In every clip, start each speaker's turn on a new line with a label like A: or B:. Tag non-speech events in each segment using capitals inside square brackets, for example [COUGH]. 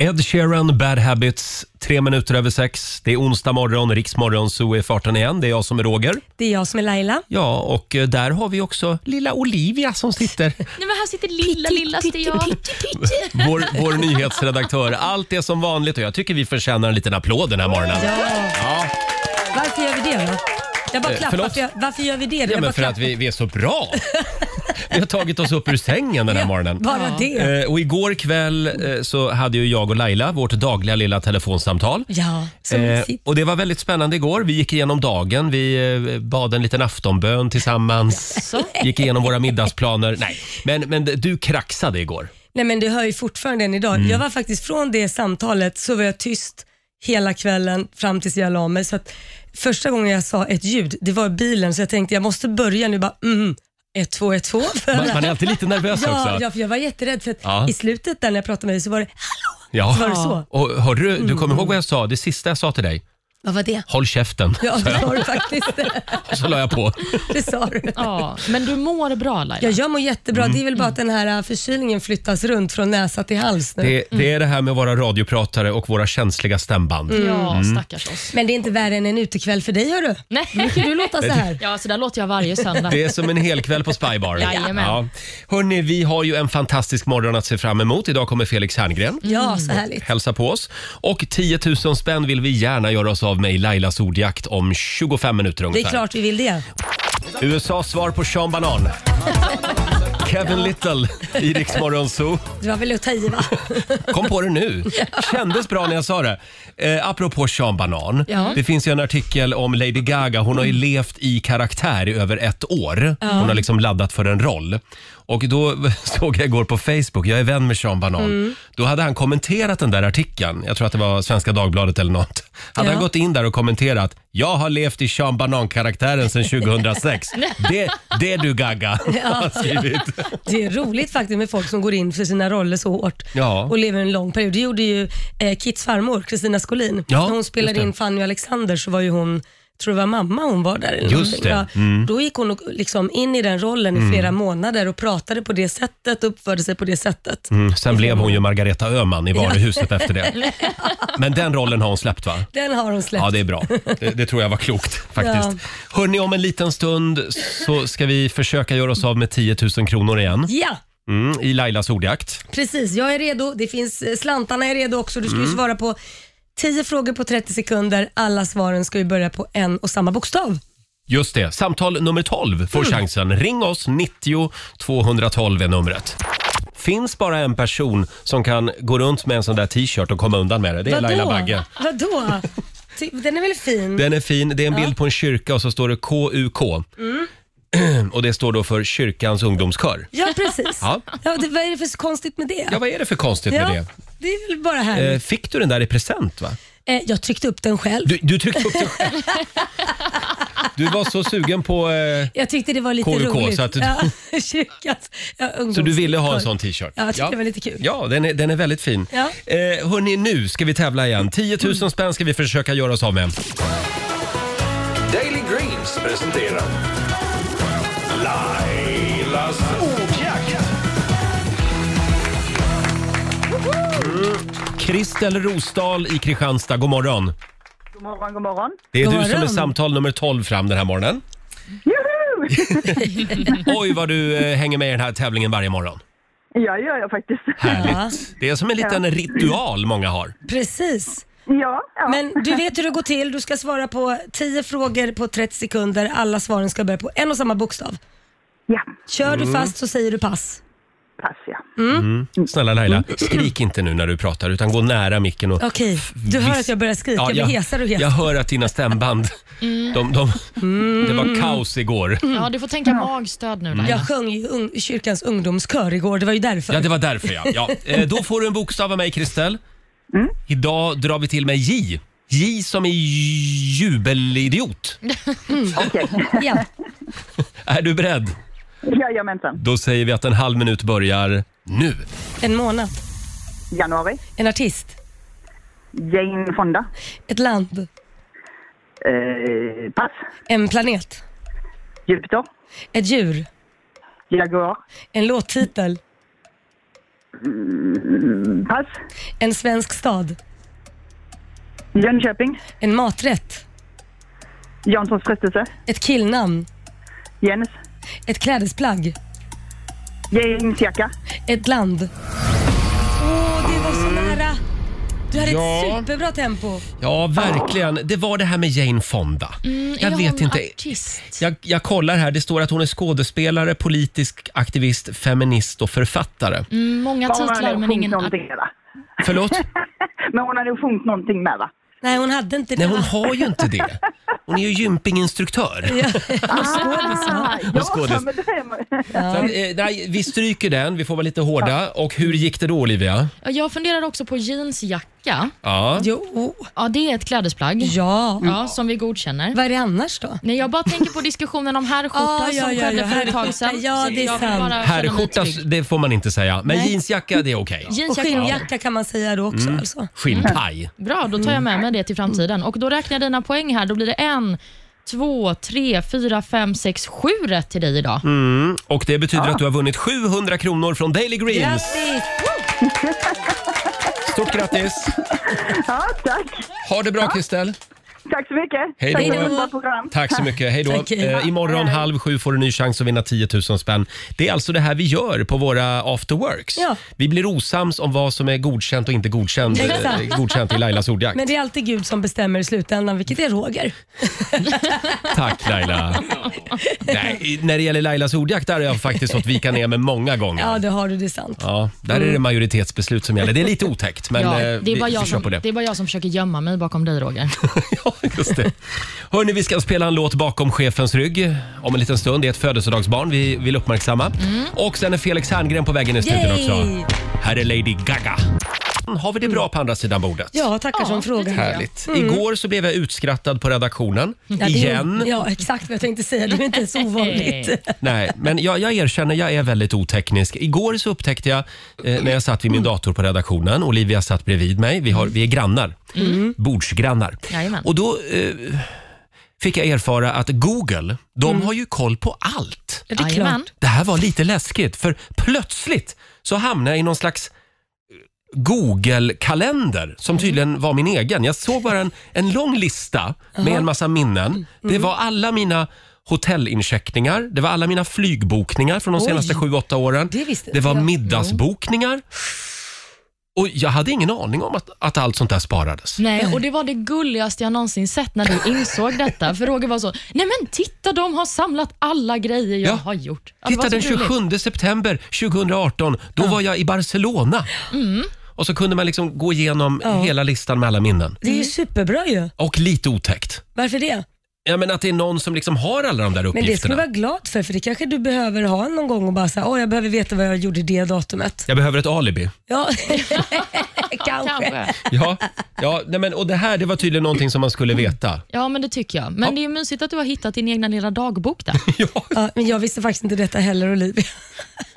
A: Ed Sheeran, Bad Habits, tre minuter över sex. Det är onsdag morgon, riksmorgon, så är farten igen. Det är jag som är Roger.
B: Det är jag som är Laila.
A: Ja, och eh, där har vi också lilla Olivia som sitter.
C: Nej, men här sitter lilla, lilla Stian.
A: [LAUGHS] Vår, vår nyhetsredaktör. Allt är som vanligt och jag tycker vi förtjänar en liten applåd den här morgonen.
B: Ja.
A: Ja,
B: Varför gör vi det då? Jag bara
A: Eh,
B: klappar.
A: förlåt?
B: Varför, gör- varför gör vi det?
A: ja
B: jag bara
A: men för att vi, vi är så bra. Vi har tagit oss upp ur sängen den här morgonen.
B: Bara det.
A: Eh, Och igår kväll eh, så hade ju jag och Laila vårt dagliga lilla telefonsamtal.
B: Ja, så
A: Eh,
B: mysigt.
A: och det var väldigt spännande igår. Vi gick igenom dagen. Vi eh, bad en liten aftonbön tillsammans. Gick igenom våra middagsplaner. Nej, men, men du kraxade igår.
B: Nej men det hör ju fortfarande än
A: Mm.
B: idag. Jag var faktiskt från det samtalet så var jag tyst hela kvällen fram tills jag la mig. Så att första gången jag sa ett ljud, det var i bilen så jag tänkte jag måste börja nu bara mm, ett, två,
A: [LAUGHS]
B: ett, två.
A: Man, man är alltid lite nervös
B: Ja,
A: också.
B: ja, för jag var jätterädd för att
A: Ja.
B: i slutet där när jag pratade med dig så var det,
A: Ja.
B: var det så? Mm.
A: Och hörru, du kommer ihåg vad jag sa? Det sista jag sa till dig?
B: vad var det?
A: Håll käften.
B: Ja, det
A: [LAUGHS]
B: sa du faktiskt. [LAUGHS]
A: Och [LAUGHS] så la jag på.
B: Det sa du.
C: Ja, men du mår bra Laila.
B: Ja, jag mår jättebra. Det är väl bara att den här äh, förkylningen flyttas runt från näsa till hals nu.
A: Mm. Det, det är det här med våra radiopratare och våra känsliga stämband.
B: Mm.
C: Ja,
A: Mm.
C: stackars oss.
B: Men det är inte värre än en utekväll för dig hörru.
C: Nej.
B: Brukar du låta
A: [LAUGHS]
B: så här?
C: Ja, så där låter jag varje söndag.
A: Det är som en hel kväll på
B: [LAUGHS]
A: Spybar.
C: Jajamän.
A: Hörni, vi har ju en fantastisk morgon att se fram emot. Idag kommer Felix Herngren.
B: Ja, så härligt.
A: hälsa på oss. Och 10 000 spänn vill vi gärna göra oss av med i Lailas ordjakt om 25 minuter
B: Det
A: ungefär.
B: är klart vi vill det.
A: USAs svar på Sean Banan. [LAUGHS] Kevin Little i Rix Morgon Zoo.
B: Det var väl att ta
A: [LAUGHS]
B: i va?
A: Kom på det
B: [LAUGHS]
A: nu. Kändes bra när jag sa det. Eh, apropå Sean Banan.
B: Ja.
A: Det finns ju en artikel om Lady Gaga. Hon har ju levt i karaktär i över ett år. Hon har liksom laddat för en roll. Och då [LAUGHS] såg jag igår på Facebook, jag är vän med Sean Banan.
B: Mm.
A: Då hade han kommenterat den där artikeln. Jag tror att det var Svenska Dagbladet eller något. Hade
B: Ja.
A: han gått in där och kommenterat. Jag har levt i Sean Banan-karaktären
B: [LAUGHS]
A: sedan 2006. det, det är du Gaga. [LAUGHS] har han skrivit.
B: Det är roligt faktiskt med folk som går in för sina roller så hårt
A: Ja.
B: och lever en lång period. Det gjorde ju eh, Kits farmor, Kristina Skolin.
A: Ja,
B: När hon
A: just
B: spelade
A: det.
B: in Fanny och Alexander så var ju hon tror det var mamma hon var där. Eller
A: Just
B: någonting.
A: det, Mm.
B: Ja, Då gick hon och liksom in i den rollen i flera månader och pratade på det sättet, uppförde sig på det sättet.
A: Mm, sen blev hon ju Margareta Öhman i varuhuset efter det. Men den rollen har hon släppt va?
B: Den har hon släppt.
A: Ja, det är bra. Det, det tror jag var klokt faktiskt. Hörni, om en liten stund så ska vi försöka göra oss av med 10 000 kronor igen
B: ja.
A: mm, i Lailas ordjakt.
B: Precis, jag är redo. Det finns, eh, slantarna är redo också. Du ska ju
A: Mm.
B: svara på 10 frågor på 30 sekunder. Alla svaren ska ju börja på en och samma bokstav.
A: Just det, samtal nummer 12 får chansen. Ring oss, 90 212 är numret. Finns bara en person som kan gå runt med en sån där t-shirt och komma undan med det. Det är Laila Bagge.
B: Vadå? Ty- Den är väl fin?
A: Den är fin. Det är en bild på en kyrka och så står det KUK. [CLEARS THROAT] Och det står då för Kyrkans ungdomskör.
B: Ja, precis.
A: Ja.
B: Ja. det, vad är det för så konstigt med det?
A: Ja, vad är det för konstigt
B: Ja,
A: med
B: det är väl bara
A: det?
B: här.
A: Eh, Fick du den där i present? va?
B: Eh, jag tryckte upp den själv.
A: Du, du tryckte upp den [LAUGHS] själv. Du var så sugen på... Eh,
B: jag tyckte det var lite
A: KUK,
B: roligt.
A: så att du-
B: ja, [LAUGHS] kyrkans, ja,
A: så du ville ha en
B: ungdomskör.
A: sån t-shirt?
B: Ja, jag tyckte det var lite kul.
A: Ja, den är, den är väldigt fin.
B: Ja.
A: Eh, hörni, nu ska vi tävla igen. 10 000 spänn ska vi försöka göra oss av med.
D: Daily Greens presenterar Lailas ordjakt.
A: Kristel Rosdahl i Kristianstad, god morgon.
E: God morgon, god morgon.
A: Det är
B: God
A: du som är
B: morgon.
A: samtal nummer 12 fram den här morgonen.
E: Juhu!
A: [LAUGHS]
E: [LAUGHS]
A: Oj, vad du eh, hänger med i den här tävlingen varje morgon.
E: Ja, gör jag faktiskt.
A: [LAUGHS] Härligt. Det är som en liten ritual många har.
B: Precis.
E: Ja, ja.
B: Men du vet hur det går till. Du ska svara på 10 frågor på 30 sekunder. Alla svaren ska börja på en och samma bokstav.
E: ja.
B: Kör
A: Mm.
B: du fast så säger du pass.
E: Pass, ja.
C: Mm.
A: Snälla Laila, skrik inte nu när du pratar utan gå nära micken och...
B: Okej, du hör att jag börjar skrika.
A: Ja,
B: jag blir hesare och
A: jag
B: hesare.
A: hör att dina stämband, de, de, det var kaos igår.
C: Ja, du får tänka
B: Mm.
C: magstöd
A: Mm.
C: nu Laila.
B: Jag sjöng ju ung, kyrkans ungdomskör igår. Det var ju därför.
A: Ja, det var därför ja. ja. Eh, Då får du en bokstav av mig Kristel.
C: Mm.
A: Idag drar vi till med J. J som i jubelidiot.
B: Ja.
A: Är du beredd?
E: [LAUGHS] Jajamensan.
A: Då säger vi att en halv minut börjar nu.
B: En månad,
E: Januari.
B: en artist,
E: Jane Fonda.
B: ett land,
E: Eh, pass.
B: en planet,
E: Jupiter.
B: ett djur,
E: Jaguar.
B: en låttitel,
E: Mm, pass.
B: En svensk stad.
E: Jönköping.
B: En maträtt.
E: Janssons frestelse.
B: Ett killnamn.
E: Jens.
B: Ett klädesplagg.
E: Jeansjacka.
B: Ett land. Åh, det var så nära! Du hade
A: Ja.
B: ett superbra tempo.
A: Ja, verkligen. Det var det här med Jane Fonda.
C: Mm,
A: jag
C: är
A: vet
C: hon
A: inte.
C: Artist?
A: Jag, jag kollar här. Det står att hon är skådespelare, politisk aktivist, feminist och författare.
C: Mm, många
E: Bara hon hade
C: titlar men
E: sjungit
C: ingen
E: någonting
C: artist.
E: med, va?
A: Förlåt?
E: Men hon hade ju sjungit någonting med va?
B: Nej, hon hade inte
A: Nej,
B: det.
A: hon
B: va?
A: har ju inte det. Hon är ju gympinginstruktör. [LAUGHS]
E: Ah, ja,
A: skådis.
E: men det är...
A: Så att, eh, nej, vi stryker den. Vi får vara lite hårda. Och hur gick det då, Olivia?
C: Jag funderar också på jeansjacka.
A: Ja.
B: Jo,
C: Ja, det är ett klädesplagg
B: ja.
C: ja, som vi godkänner.
B: Vad är det annars då?
C: Nej, jag bara tänker på diskussionen om herrskjorta
B: Ah, ja,
C: som
B: ja,
C: skedde
B: ja,
C: för ett
B: herrskjorta.
C: tag sedan.
B: Ja, det är
C: Jag vill
B: sant.
C: bara känna mig
A: Herrskjorta,
C: trygg.
A: det får man inte säga. Men jeansjacka, det är okej.
B: Och
C: Jeansjacka.
B: skinnjacka kan man säga då också alltså.
A: Skinnpaj.
C: Bra, då tar
A: Mm.
C: jag med mig det till framtiden. Och Då räknar jag dina poäng här. Då blir det en, två, tre, fyra, fem, sex, sju rätt till dig idag.
A: Mm. Och det betyder att du har vunnit 700 kronor från Daily Greens.
B: Grattis!
A: Stort grattis!
E: Ja, tack.
A: Ha det bra, Kristel.
E: Tack så mycket.
A: Hej
E: Tack
A: då.
E: för ett bra program.
A: Tack så mycket. Hej då.
B: Tack.
A: Eh, imorgon halv sju får du ny chans att vinna 10 000 spänn. Det är alltså det här vi gör på våra afterworks.
B: Ja.
A: Vi blir osams om vad som är godkänt och inte godkänt, eh,
B: Exakt.
A: godkänt i Lailas ordjakt.
B: Men det är alltid Gud som bestämmer i slutändan, vilket är Roger.
A: Tack Laila. Nej, i- när det gäller Lailas ordjakt där har jag faktiskt fått vika ner mig många gånger.
B: Ja,
A: Ja,
B: det har du, det är sant.
A: där är det majoritetsbeslut som gäller. Det är lite otäckt, men
C: Ja,
A: eh,
C: det, är bara
A: vi, vi
C: jag
A: kör
C: som,
A: på
C: det.
A: det.
C: är bara jag som försöker gömma mig bakom dig, Roger.
A: [LAUGHS] Ja, just det. Hörni, vi ska spela en låt bakom chefens rygg om en liten stund. Det är ett födelsedagsbarn vi vill uppmärksamma. Och sen är Felix Herngren på vägen i studion
B: Yay!
A: också. Här är Lady Gaga. Har vi det bra på andra sidan bordet?
B: Ja, tackar
C: Ja,
B: som
C: det
B: frågar.
C: tycker jag.
A: Härligt. Igår så blev jag utskrattad på redaktionen.
B: Ja, det är-
A: Igen.
B: Ja, exakt vad jag tänkte säga. Det är inte så ovanligt.
C: Eh,
A: Nej, men jag, jag erkänner, jag är väldigt oteknisk. Igår så upptäckte jag, eh, när jag satt vid min dator på redaktionen, Olivia satt bredvid mig, vi, har, vi är grannar, bordsgrannar.
C: Jajamän.
A: Och då eh, fick jag erfara att Google, de har ju koll på allt.
B: Ja, det är
C: Jajamän.
B: klart.
A: Det här var lite läskigt, för plötsligt så hamnade jag i någon slags eh, Google-kalender som tydligen var min egen. Jag såg bara en, en lång lista med en massa minnen.
B: Mm.
A: Det var alla mina hotellincheckningar, det var alla mina flygbokningar från de senaste 7-8 åren.
B: det visste
A: det
B: inte
A: var
B: jag.
A: middagsbokningar. Och jag hade ingen aning om att, att allt sånt där sparades.
C: Nej, och det var det gulligaste jag någonsin sett när
A: [LAUGHS]
C: du insåg detta. För Roger var så, nej men titta de har samlat alla grejer jag
A: Ja.
C: har gjort. Ja, det var
B: Alltså,
A: Titta den
C: så gulligt.
A: 27 september 2018, då var jag i Barcelona.
B: Mm.
A: Och så kunde man liksom gå igenom hela listan med alla minnen.
B: Det är ju superbra ju.
A: Och lite otäckt.
B: Varför det?
A: Ja, men att det är någon som liksom har alla de där
B: Men det ska
A: uppgifterna.
B: du vara glad för, för det kanske du behöver ha någon gång och bara säga, åh jag behöver veta vad jag gjorde det datumet.
A: Jag behöver ett alibi.
B: Ja, [LAUGHS] kanske.
C: Kanske.
A: Ja, ja nej men, och det här det var tydligen någonting som man skulle
B: Mm.
A: veta.
C: Ja, men det tycker jag. Men det är ju mysigt att du har hittat din egna lilla dagbok där.
A: Ja.
B: [LAUGHS] Ja, men jag visste faktiskt inte detta heller Olivia.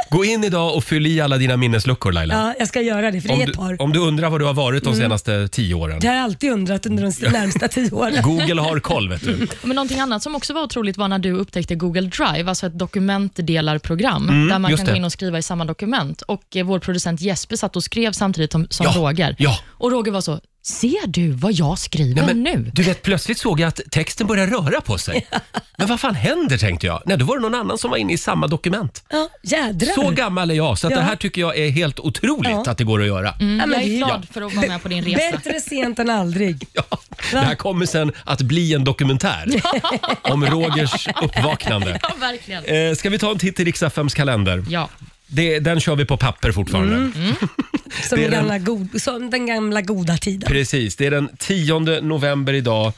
A: Gå in idag och fyll i alla dina minnesluckor Laila.
B: Ja, jag ska göra det, för det
A: om,
B: är ett
A: du,
B: par. Mm.
A: om du undrar var du har varit de senaste tio åren.
B: Det har jag alltid undrat under de närmsta tio åren.
A: Google har koll vet du.
C: Men någonting annat som också var otroligt var när du upptäckte Google Drive, alltså ett dokumentdelarprogram där man
A: Mm, just
C: kan
A: det.
C: gå in och skriva i samma dokument. Och eh, Vår producent Jesper satt och skrev samtidigt som, som
A: Ja,
C: Roger.
A: ja.
C: Och Roger var så, ser du vad jag skriver
A: Nej, men,
C: nu?
A: Du vet, plötsligt såg jag att texten började röra på sig. Men vad fan händer tänkte jag. Nej, då var det någon annan som var inne i samma dokument.
B: Ja, jädrar.
A: Så gammal är jag, så att
B: Ja.
A: det här tycker jag är helt otroligt
B: Ja.
A: att det går att göra.
B: Ja, men
C: Mm. jag
B: det
C: är
B: ju-
C: glad för att vara med på din resa.
B: Bättre sent än aldrig.
A: Ja, det här kommer sen att bli en dokumentär [LAUGHS] om Rogers uppvaknande.
C: [LAUGHS] Ja, verkligen.
A: Eh, ska vi ta en titt i Riks-FMs kalender?
C: Ja.
A: Det, den kör vi på papper fortfarande.
B: Som
A: Det är den-
B: den, gamla god, som den gamla goda tiden.
A: Precis, det är den 10 november idag.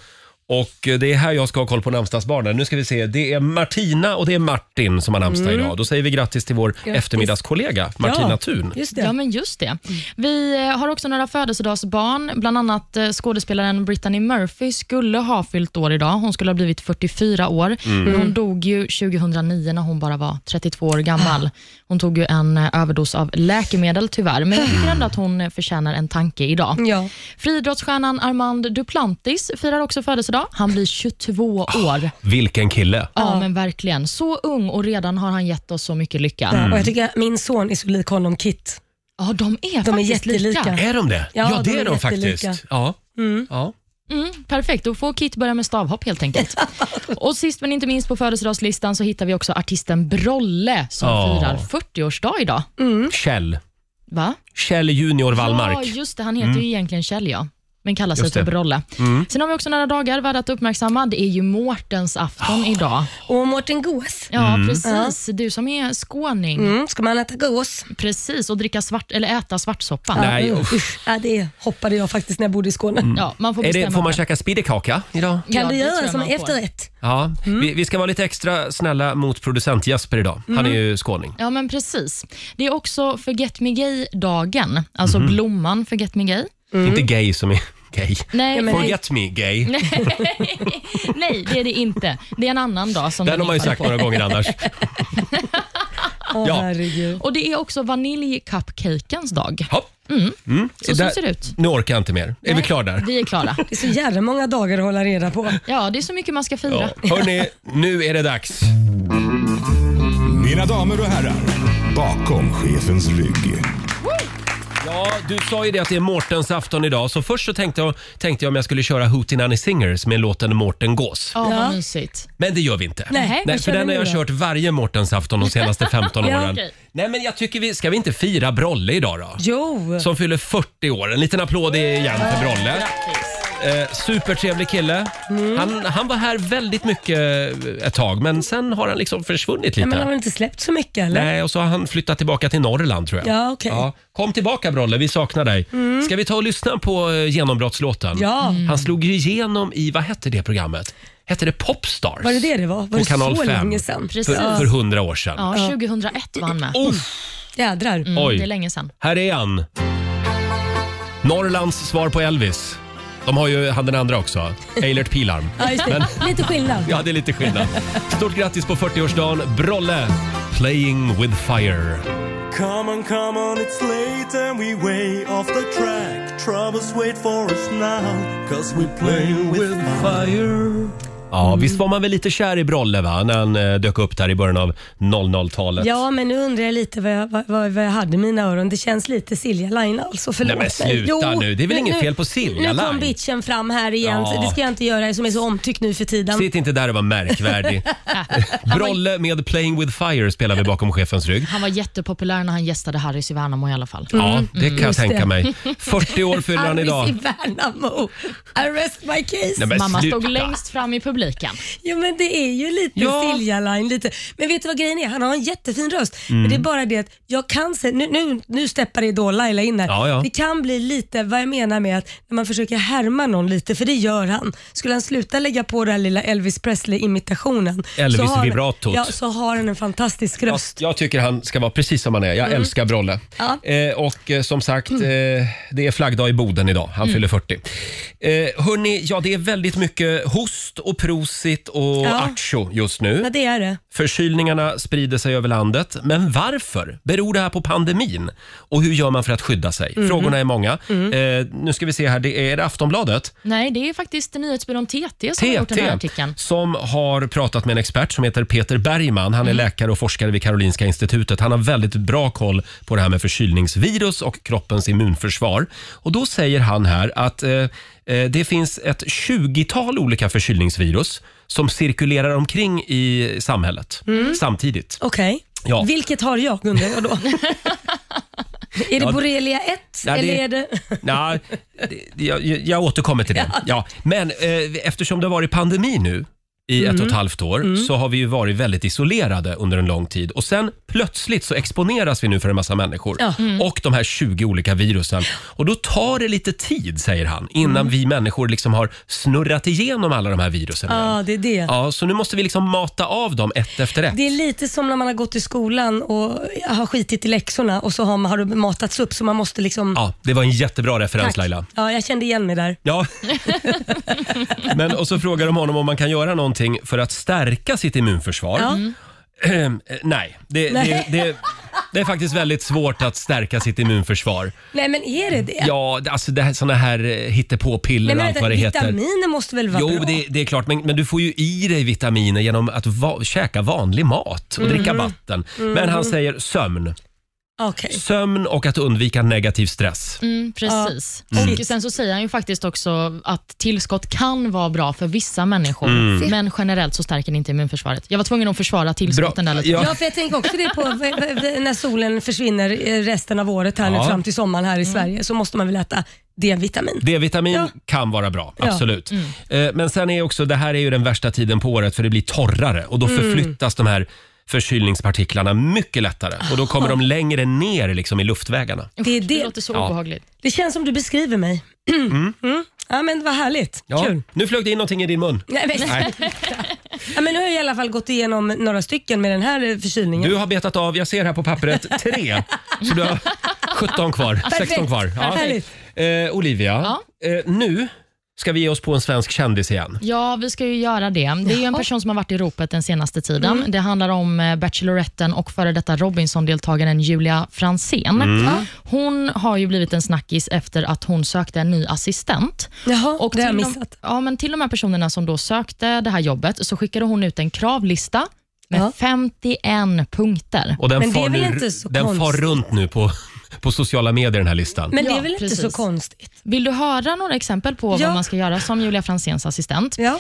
A: Och eh, det är här jag ska ha koll på namnsdagsbarnen. Nu ska vi se, det är Martina och det är Martin som har namnsdag idag. Då säger vi grattis till vår eftermiddagskollega Martina
B: ja,
A: Thun.
B: Just det.
C: Ja, men just det. Vi eh, har också några födelsedagsbarn. Bland annat eh, skådespelaren Brittany Murphy skulle ha fyllt år idag. Hon skulle ha blivit 44 år. Men
B: Mm.
C: hon dog ju 2009 när hon bara var 32 år
B: Ah.
C: gammal. Hon tog ju en eh, överdos av läkemedel tyvärr, men jag tycker ändå att hon eh, förtjänar en tanke idag.
B: Ja.
C: Friidrottsstjärnan Armand Duplantis firar också födelsedag. Han blir 22
B: Ah.
C: år.
A: Vilken kille!
C: Ja, men verkligen. Så ung och redan har han gett oss så mycket lycka.
A: Mm.
B: Och jag tycker att min son är så lik honom, Kit.
C: Ja, de är
B: De är
C: faktiskt
B: jättelika.
C: lika.
A: Är de det?
B: Ja,
A: det
B: de
A: är
B: är
A: de
B: jättelika.
A: faktiskt. Ja. Ja.
C: Mm, perfekt, då får Kit börja med stavhopp
B: [LAUGHS]
C: helt enkelt. och sist men inte minst på födelsedagslistan så hittar vi också artisten Brolle som
A: Ja.
C: firar 40-årsdag idag.
A: Kjell.
C: Va?
A: Kjell Junior
C: Ja,
A: Wallmark. Mm.
C: just det. Han heter ju egentligen Kjell, ja. Men kallar sig
A: Just det. Mm.
C: för Brolle. Sen har vi också några dagar värda att uppmärksamma. Det är ju Mårtens
A: Ah.
C: afton idag.
B: Och Mårten Gås.
C: Ja,
A: Mm.
C: precis. Du som är skåning.
B: Mm, ska man äta gås?
C: Precis, och dricka svart, eller äta svartsoppa.
A: Nej,
B: Mm.
A: uff. Mm.
B: Usch, ja, det hoppade jag faktiskt när jag bodde i Skåne.
C: Ja, man får
A: Är
C: bestämma
A: det, får man
C: själv.
A: käka spiddekaka idag?
C: Ja,
B: Kan
C: det
B: du
C: tror
B: göra
C: jag
B: som
C: man får.
B: efterrätt?
A: Ja. Vi, vi ska vara lite extra snälla mot producent Jesper idag. Han är ju skåning.
C: Ja, men precis. Det är också Forget Me Gay-dagen, alltså
A: Mhm.
C: blomman Forget Me Gay.
A: Inte gay som är [LAUGHS] gay.
C: Nej,
B: Ja, men-
A: Forget me gay.
C: nej, det är det inte. Det är en annan dag. Som
A: Den har man ju
C: infaller
A: sagt
C: på.
A: några gånger annars.
B: Åh
A: Ja.
B: herregud.
C: Och Det är också vaniljcupcakens dag.
A: Ja. Mm.
C: Så, så
A: Där-
C: ser det ut.
A: Nu orkar jag inte mer. Är vi
C: Nej,
A: klara där?
C: Vi är klara.
B: Det är så jävla många dagar att hålla reda på.
C: Ja, det är så mycket man ska fira.
A: Ja.
C: [LAUGHS]
A: Hörni, nu är det dags.
D: Mina damer och herrar, bakom chefens rygg.
A: Ja, du sa ju det att det är Mårtens afton idag, så först så tänkte jag, tänkte jag om jag skulle köra Hootin' Annie Singers med låten Mårten Gås.
C: Ja,
B: Ja.
C: vad mysigt.
A: Men det gör vi inte.
C: Nej, vad
A: för
B: kör
A: den
B: ni
A: har jag
B: då?
A: kört varje Mårtens afton de senaste
C: [LAUGHS]
A: 15
B: Ja,
A: åren.
C: okej.
A: Nej, men jag tycker vi, ska vi inte fira Brolle idag då?
B: Jo!
A: Som fyller 40 år. En liten applåd igen för Brolle. Eh, supertrevlig kille.
C: Mm.
A: Han, han var här väldigt mycket eh, ett tag, men sen har han liksom försvunnit
B: Ja, men har
A: lite.
B: han inte släppt så mycket eller?
A: Nej, och så har han flyttat tillbaka till Norrland tror jag.
B: Ja, okej. Mm.
A: Kom tillbaka Brolle, vi saknar dig. Ska vi ta och lyssna på eh, genombrottslåten?
B: Ja. Mm.
A: Han slog ju igenom i, vad hette det programmet? Hette det Popstars?
B: Var det det det var? Var
A: På
B: det
A: Kanal
B: så
A: 5.
B: länge sedan?
C: Precis.
A: För, för hundra år sedan.
C: Ja, 2001 var han med.
A: Uff,
B: Jädrar.
C: Mm,
A: oj.
C: Det är länge sedan.
A: Här är han. Norrlands svar på Elvis. De har ju han den andra också, Eilert
B: [LAUGHS]
A: Pilarm.
B: Ja, just det. Lite skillnad.
A: Ja, det är lite skillnad. Stort grattis på 40-årsdagen, Brolle. Playing with fire.
F: Come on, come on, it's late and we way off the track. Troubles wait for us now, cause we playing with
A: fire. Ja, visst var man väl lite kär i Brolle va? när han eh, dök upp där i början av 00-talet?
B: Ja, men nu undrar jag lite vad jag, vad, vad vad jag hade i mina öron. Det känns lite Silja Line alltså. Förlåt
A: Nej, men sluta nu. Det är väl
B: men
A: inget
B: nu-
A: fel på Silja
B: Nu
A: Line.
B: kom bitchen fram här igen.
A: Ja.
B: Det ska jag inte göra som är så omtyckt nu för tiden.
A: Sitt inte där och var
B: [LAUGHS]
A: märkvärdig. Brolle med Playing with fire spelar vi bakom chefens rygg.
C: Han var jättepopulär när han gästade Harrys i Värnamo i alla fall.
A: Ja, det kan jag
B: Mm, Just
A: tänka
B: det. [LAUGHS]
A: mig. 40 år fyller han
B: Arvis i
A: idag.
B: Värnamo. Arrest my case.
A: Nej, men
C: Mamma
A: sluta.
C: stod längst fram i publiken.
B: Jo men det är ju lite
A: Ja.
B: Silja Line. Lite. Men vet du vad grejen är? Han har en jättefin röst.
A: Mm.
B: Men det är bara det att jag kan se, nu, nu, nu steppar det då Laila in här.
A: Ja, ja.
B: Det kan bli lite vad jag menar med att när man försöker härma någon lite, för det gör han. Skulle han sluta lägga på den här lilla Elvis Presley-imitationen. så har han-
A: Elvis-vibratot.
B: Ja, så har han en fantastisk
A: Jag,
B: röst.
A: jag tycker han ska vara precis som han är. Jag älskar Brolle.
B: Mm. Ja. Mm.
A: Eh, och eh, som sagt, eh, det är flaggdag i Boden idag. Han fyller 40. Eh, hörni, ja det är väldigt mycket host och prosit och
B: Ja.
A: artio just
B: Ja,
A: nu.
B: det är det.
A: Förkylningarna sprider sig över landet. Men varför? Beror det här på pandemin? Och hur gör man för att skydda sig?
C: Mhm.
A: Frågorna är många. Eh, nu ska vi se här, det är, är det Aftonbladet?
C: Nej, det är faktiskt nyhetsbyrån TT som har gjort den här
A: TT
C: artikeln.
A: som har pratat med en expert som heter Peter Bergman.
C: Mhm.
A: Han är läkare och forskare vid Karolinska institutet. Han har väldigt bra koll på det här med förkylningsvirus och kroppens immunförsvar. Och då säger han här att eh, eh, det finns ett 20-tal olika förkylningsvirus som cirkulerar omkring i samhället
C: Mm.
A: samtidigt.
B: Okej.
A: Ja.
B: Vilket har jag undrar
A: [LAUGHS]
B: jag då? är det borrelia 1
A: Ja, det-
B: eller är det...
A: Nej, det- jag, jag- jag återkommer till
B: [LAUGHS]
A: det. Ja. Men eh, eftersom det har varit pandemi nu i
B: Mm.
A: ett och ett halvt år så har vi ju varit väldigt isolerade under en lång tid och sen plötsligt så exponeras vi nu för en massa människor
B: Ja. Mm.
A: och de här 20 olika virusen. Och då tar det lite tid, säger han, innan
B: Mm.
A: vi människor liksom har snurrat igenom alla de här virusen. igen.
B: Ja, det är det.
A: Ja, så nu måste vi liksom mata av dem ett efter ett.
B: Det är lite som när man har gått i skolan och har skitit i läxorna och så har, man, har det matats upp så man måste liksom...
A: Ja, det var en jättebra referens
B: Tack.
A: Laila.
B: Ja, jag kände igen mig där. [LAUGHS]
A: Ja. Men, och så frågar de honom om man kan göra någonting för att stärka sitt immunförsvar.
B: Ja.
C: Mm.
A: Ehm, eh, Nej, det,
B: Nej.
A: Det, det, det är faktiskt väldigt svårt att stärka sitt immunförsvar.
B: Nej men är det det?
A: Ja, det- alltså det här, såna här eh, hittepåpiller
B: Nej,
A: och
B: men
A: allt
B: vänta,
A: vad det heter.
B: vitaminer måste väl vara
A: Jo,
B: bra?
A: det, det är klart, men, men du får ju i dig vitaminer
B: Mm.
A: genom att va- käka vanlig mat och dricka vatten. Men han säger sömn.
B: Okej.
A: Sömn och att undvika negativ stress.
C: Mm, precis.
B: Mm.
C: Och sen så säger han ju faktiskt också att tillskott kan vara bra för vissa människor,
A: Mm.
C: men generellt så stärker det inte immunförsvaret. Jag var tvungen att försvara tillskotten
A: Bra.
C: där lite.
A: Ja.
B: Ja, för jag tänker också det på v- v- v- när solen försvinner eh, resten av året här nu
A: Ja.
B: fram till sommaren här i
C: Mm.
B: Sverige så måste man väl äta D-vitamin.
A: D-vitamin
B: Ja.
A: kan vara bra,
B: Ja. Mm.
A: absolut. Eh, Men sen är också, det här är ju den värsta tiden på året för det blir torrare och då
B: Mm.
A: förflyttas de här förkylningspartiklarna mycket lättare och då kommer de längre ner liksom i luftvägarna.
B: Det, är
C: Det
B: det,
C: låter så
A: Ja.
C: obehagligt.
B: det känns som du beskriver mig. [CLEARS THROAT] Mm. Ja, men vad härligt.
A: Ja.
B: Kul.
A: Nu flög det in någonting i din mun.
B: Nej, men, [LAUGHS] ja, men nu har jag i alla fall gått igenom några stycken med den här eh, förkylningen.
A: Du har betat av, jag ser här på
B: [LAUGHS]
A: pappret, tre. Så du har 17 kvar, 16 kvar.
B: Härligt.
A: Eh, Olivia, eh, nu ska vi ge oss på en svensk kändis igen.
C: Ja, vi ska ju göra det. Det är ju en person som har varit i ropet den senaste tiden.
A: Mm.
C: Det handlar om eh, Bacheloretten och före detta Robinson-deltagaren Julia Fransén.
A: Mm.
C: Hon har ju blivit en snackis efter att hon sökte en ny assistent.
B: Jaha,
C: Och
B: det har jag
C: till
B: missat.
C: De, ja, men till de här personerna som då sökte det här jobbet så skickade hon ut en kravlista med
B: Ja.
C: 51 punkter.
A: Och den
B: Men det är
A: far,
B: väl
A: nu,
B: inte så
A: den far
B: konstigt?
A: runt nu på, på sociala medier den här listan.
B: Men det är
C: Ja,
B: väl inte
C: precis.
B: så konstigt?
C: Vill du höra några exempel på
B: Ja.
C: vad man ska göra som Julia Franzéns assistent?
B: Ja.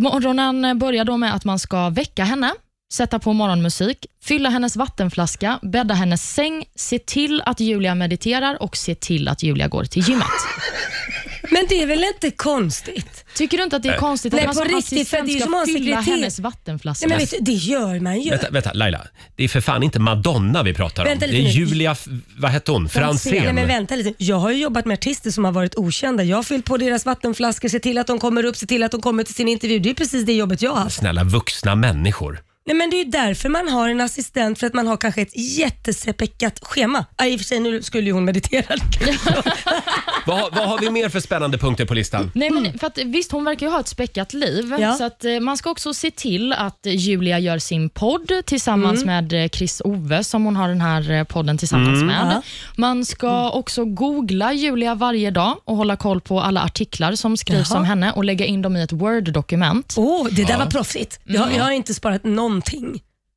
C: Morgonen börjar då med att man ska väcka henne, sätta på morgonmusik, fylla hennes vattenflaska, bädda hennes säng, se till att Julia mediterar och se till att Julia går
B: [LAUGHS]
C: till gymmet.
B: Men det är väl inte konstigt?
C: Tycker du inte att det är konstigt att
B: Nej,
C: man
B: på
C: som
B: riktigt, för det är
C: assistent
B: ju
C: ska
B: som att ha en
C: fylla
B: sekreterare.
C: hennes vattenflaska?
B: Nej, men vet du, det gör man ju.
A: Vänta, vänta, Laila. Det är för fan inte Madonna vi pratar om.
B: Vänta
A: det
B: lite
A: är
B: nu.
A: Julia, F- vad hette hon?
B: Nej, men
A: Franzén.
B: vänta lite. Jag har ju jobbat med artister som har varit okända. Jag har fyllt på deras vattenflaskor, sett till att de kommer upp, sett till att de kommer till sin intervju. Det är precis det jobbet jag har haft.
A: Snälla vuxna människor.
B: Nej, men det är ju därför man har en assistent, för att man har kanske ett jättesepäckat schema. Ah, I och för sig, nu skulle ju hon meditera.
A: Vad, vad har vi mer för spännande punkter på
B: [LAUGHS]
A: listan?
C: Nej, men för att, visst, hon verkar ju ha ett späckat liv.
B: Mm. Ja.
C: Så att, eh, man ska också se till att Julia gör sin podd tillsammans
B: Mm.
C: med eh, Chris Ove, som hon har den här eh, podden tillsammans med.
B: Ja. Mm.
C: Man ska också googla Julia varje dag och hålla koll på alla artiklar som skrivs
B: Jaha.
C: om henne och lägga in dem i ett Word-dokument.
B: Åh, det där
A: Ja. Mm.
B: var proffsigt. Jag, jag har inte sparat någonting.
C: Nej.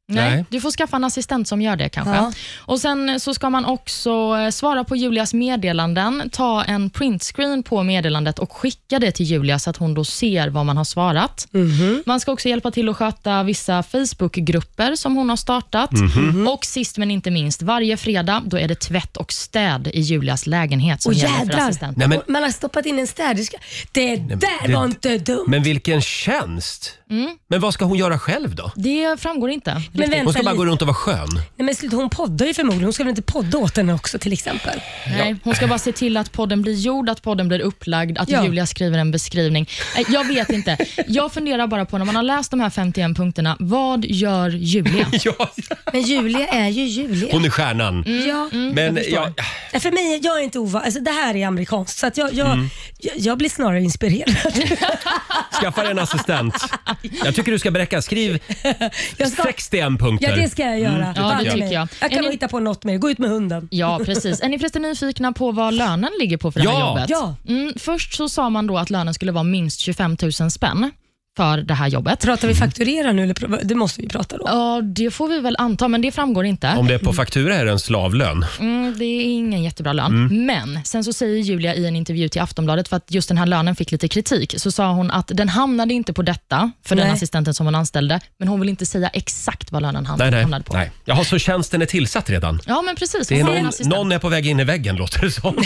A: Nej.
C: Du får skaffa en assistent som gör det kanske.
B: Ja.
C: Och Sen så ska man också eh, svara på Julias meddelanden, ta en printscreen på meddelandet och skicka det till Julia så att hon då ser vad man har svarat.
B: Mhm.
C: Man ska också hjälpa till att sköta vissa Facebookgrupper som hon har startat.
B: Mhm.
C: Och sist men inte minst, varje fredag då är det tvätt och städ i Julias lägenhet som
B: Åh
C: gäller för
B: jädrar.
C: assistenten.
A: Nej, men-
B: Och Man har stoppat in en städerska. Det där
A: det-
B: var inte dumt.
A: Men vilken tjänst!
B: Mm.
A: Men vad ska hon göra själv då?
C: Det framgår inte.
B: Men
A: Hon
B: vänta
A: ska bara gå
B: lite.
A: runt och vara
B: [LAUGHS]
A: skön.
B: Nej, men sluta, hon poddar ju förmodligen. Hon ska väl inte podda åt henne också till exempel?
C: Nej, hon ska bara se till att podden blir gjord, att podden blir upplagd, att
B: Ja.
C: Julia skriver en beskrivning. Eh, Jag vet inte. Jag funderar bara på, när man har läst de här 51 punkterna, vad gör Julia?
A: Ja,
B: Men Julia är ju Julia.
A: hon är stjärnan.
B: Ja.
A: Men ja,
B: Nej, För mig, jag är inte ovan. Alltså, det här är amerikanskt, så att jag, jag,
A: Mm.
B: jag, jag blir snarare inspirerad.
A: skaffa dig en assistent. Jag tycker du ska bräcka. Skriv
B: [LAUGHS] Jag ska-
A: 61 punkter.
B: Ja, Mm, det ska jag göra.
C: Ja,
B: Fan
C: det
B: i
C: tycker
B: mig.
C: jag.
B: Jag kan
C: Är
B: nog
C: ni-
B: hitta på något mer. Gå ut med hunden.
C: Ja, precis. Är ni förresten nyfikna på vad lönen ligger på för det här
A: Ja.
C: jobbet?
B: Ja.
C: Mm, först så sa man då att lönen skulle vara minst 25 000 spänn för det här jobbet.
B: Pratar vi fakturera nu? Eller pr- det måste vi prata då.
C: Ja, det får vi väl anta, men det framgår inte.
A: Om det är på faktura är det en slavlön.
C: Mm, det är ingen jättebra lön.
A: Mm.
C: Men sen så säger Julia i en intervju till Aftonbladet, för att just den här lönen fick lite kritik, så sa hon att den hamnade inte på detta för den
B: Nej.
C: assistenten som hon anställde, men hon vill inte säga exakt vad lönen hamn-
A: Nej, nej.
C: hamnade på.
A: nej. Jaha, så tjänsten är tillsatt redan?
C: Ja, men precis.
A: Det är
C: hon har en
A: någon,
C: assistent.
A: någon är på väg in i väggen låter det som.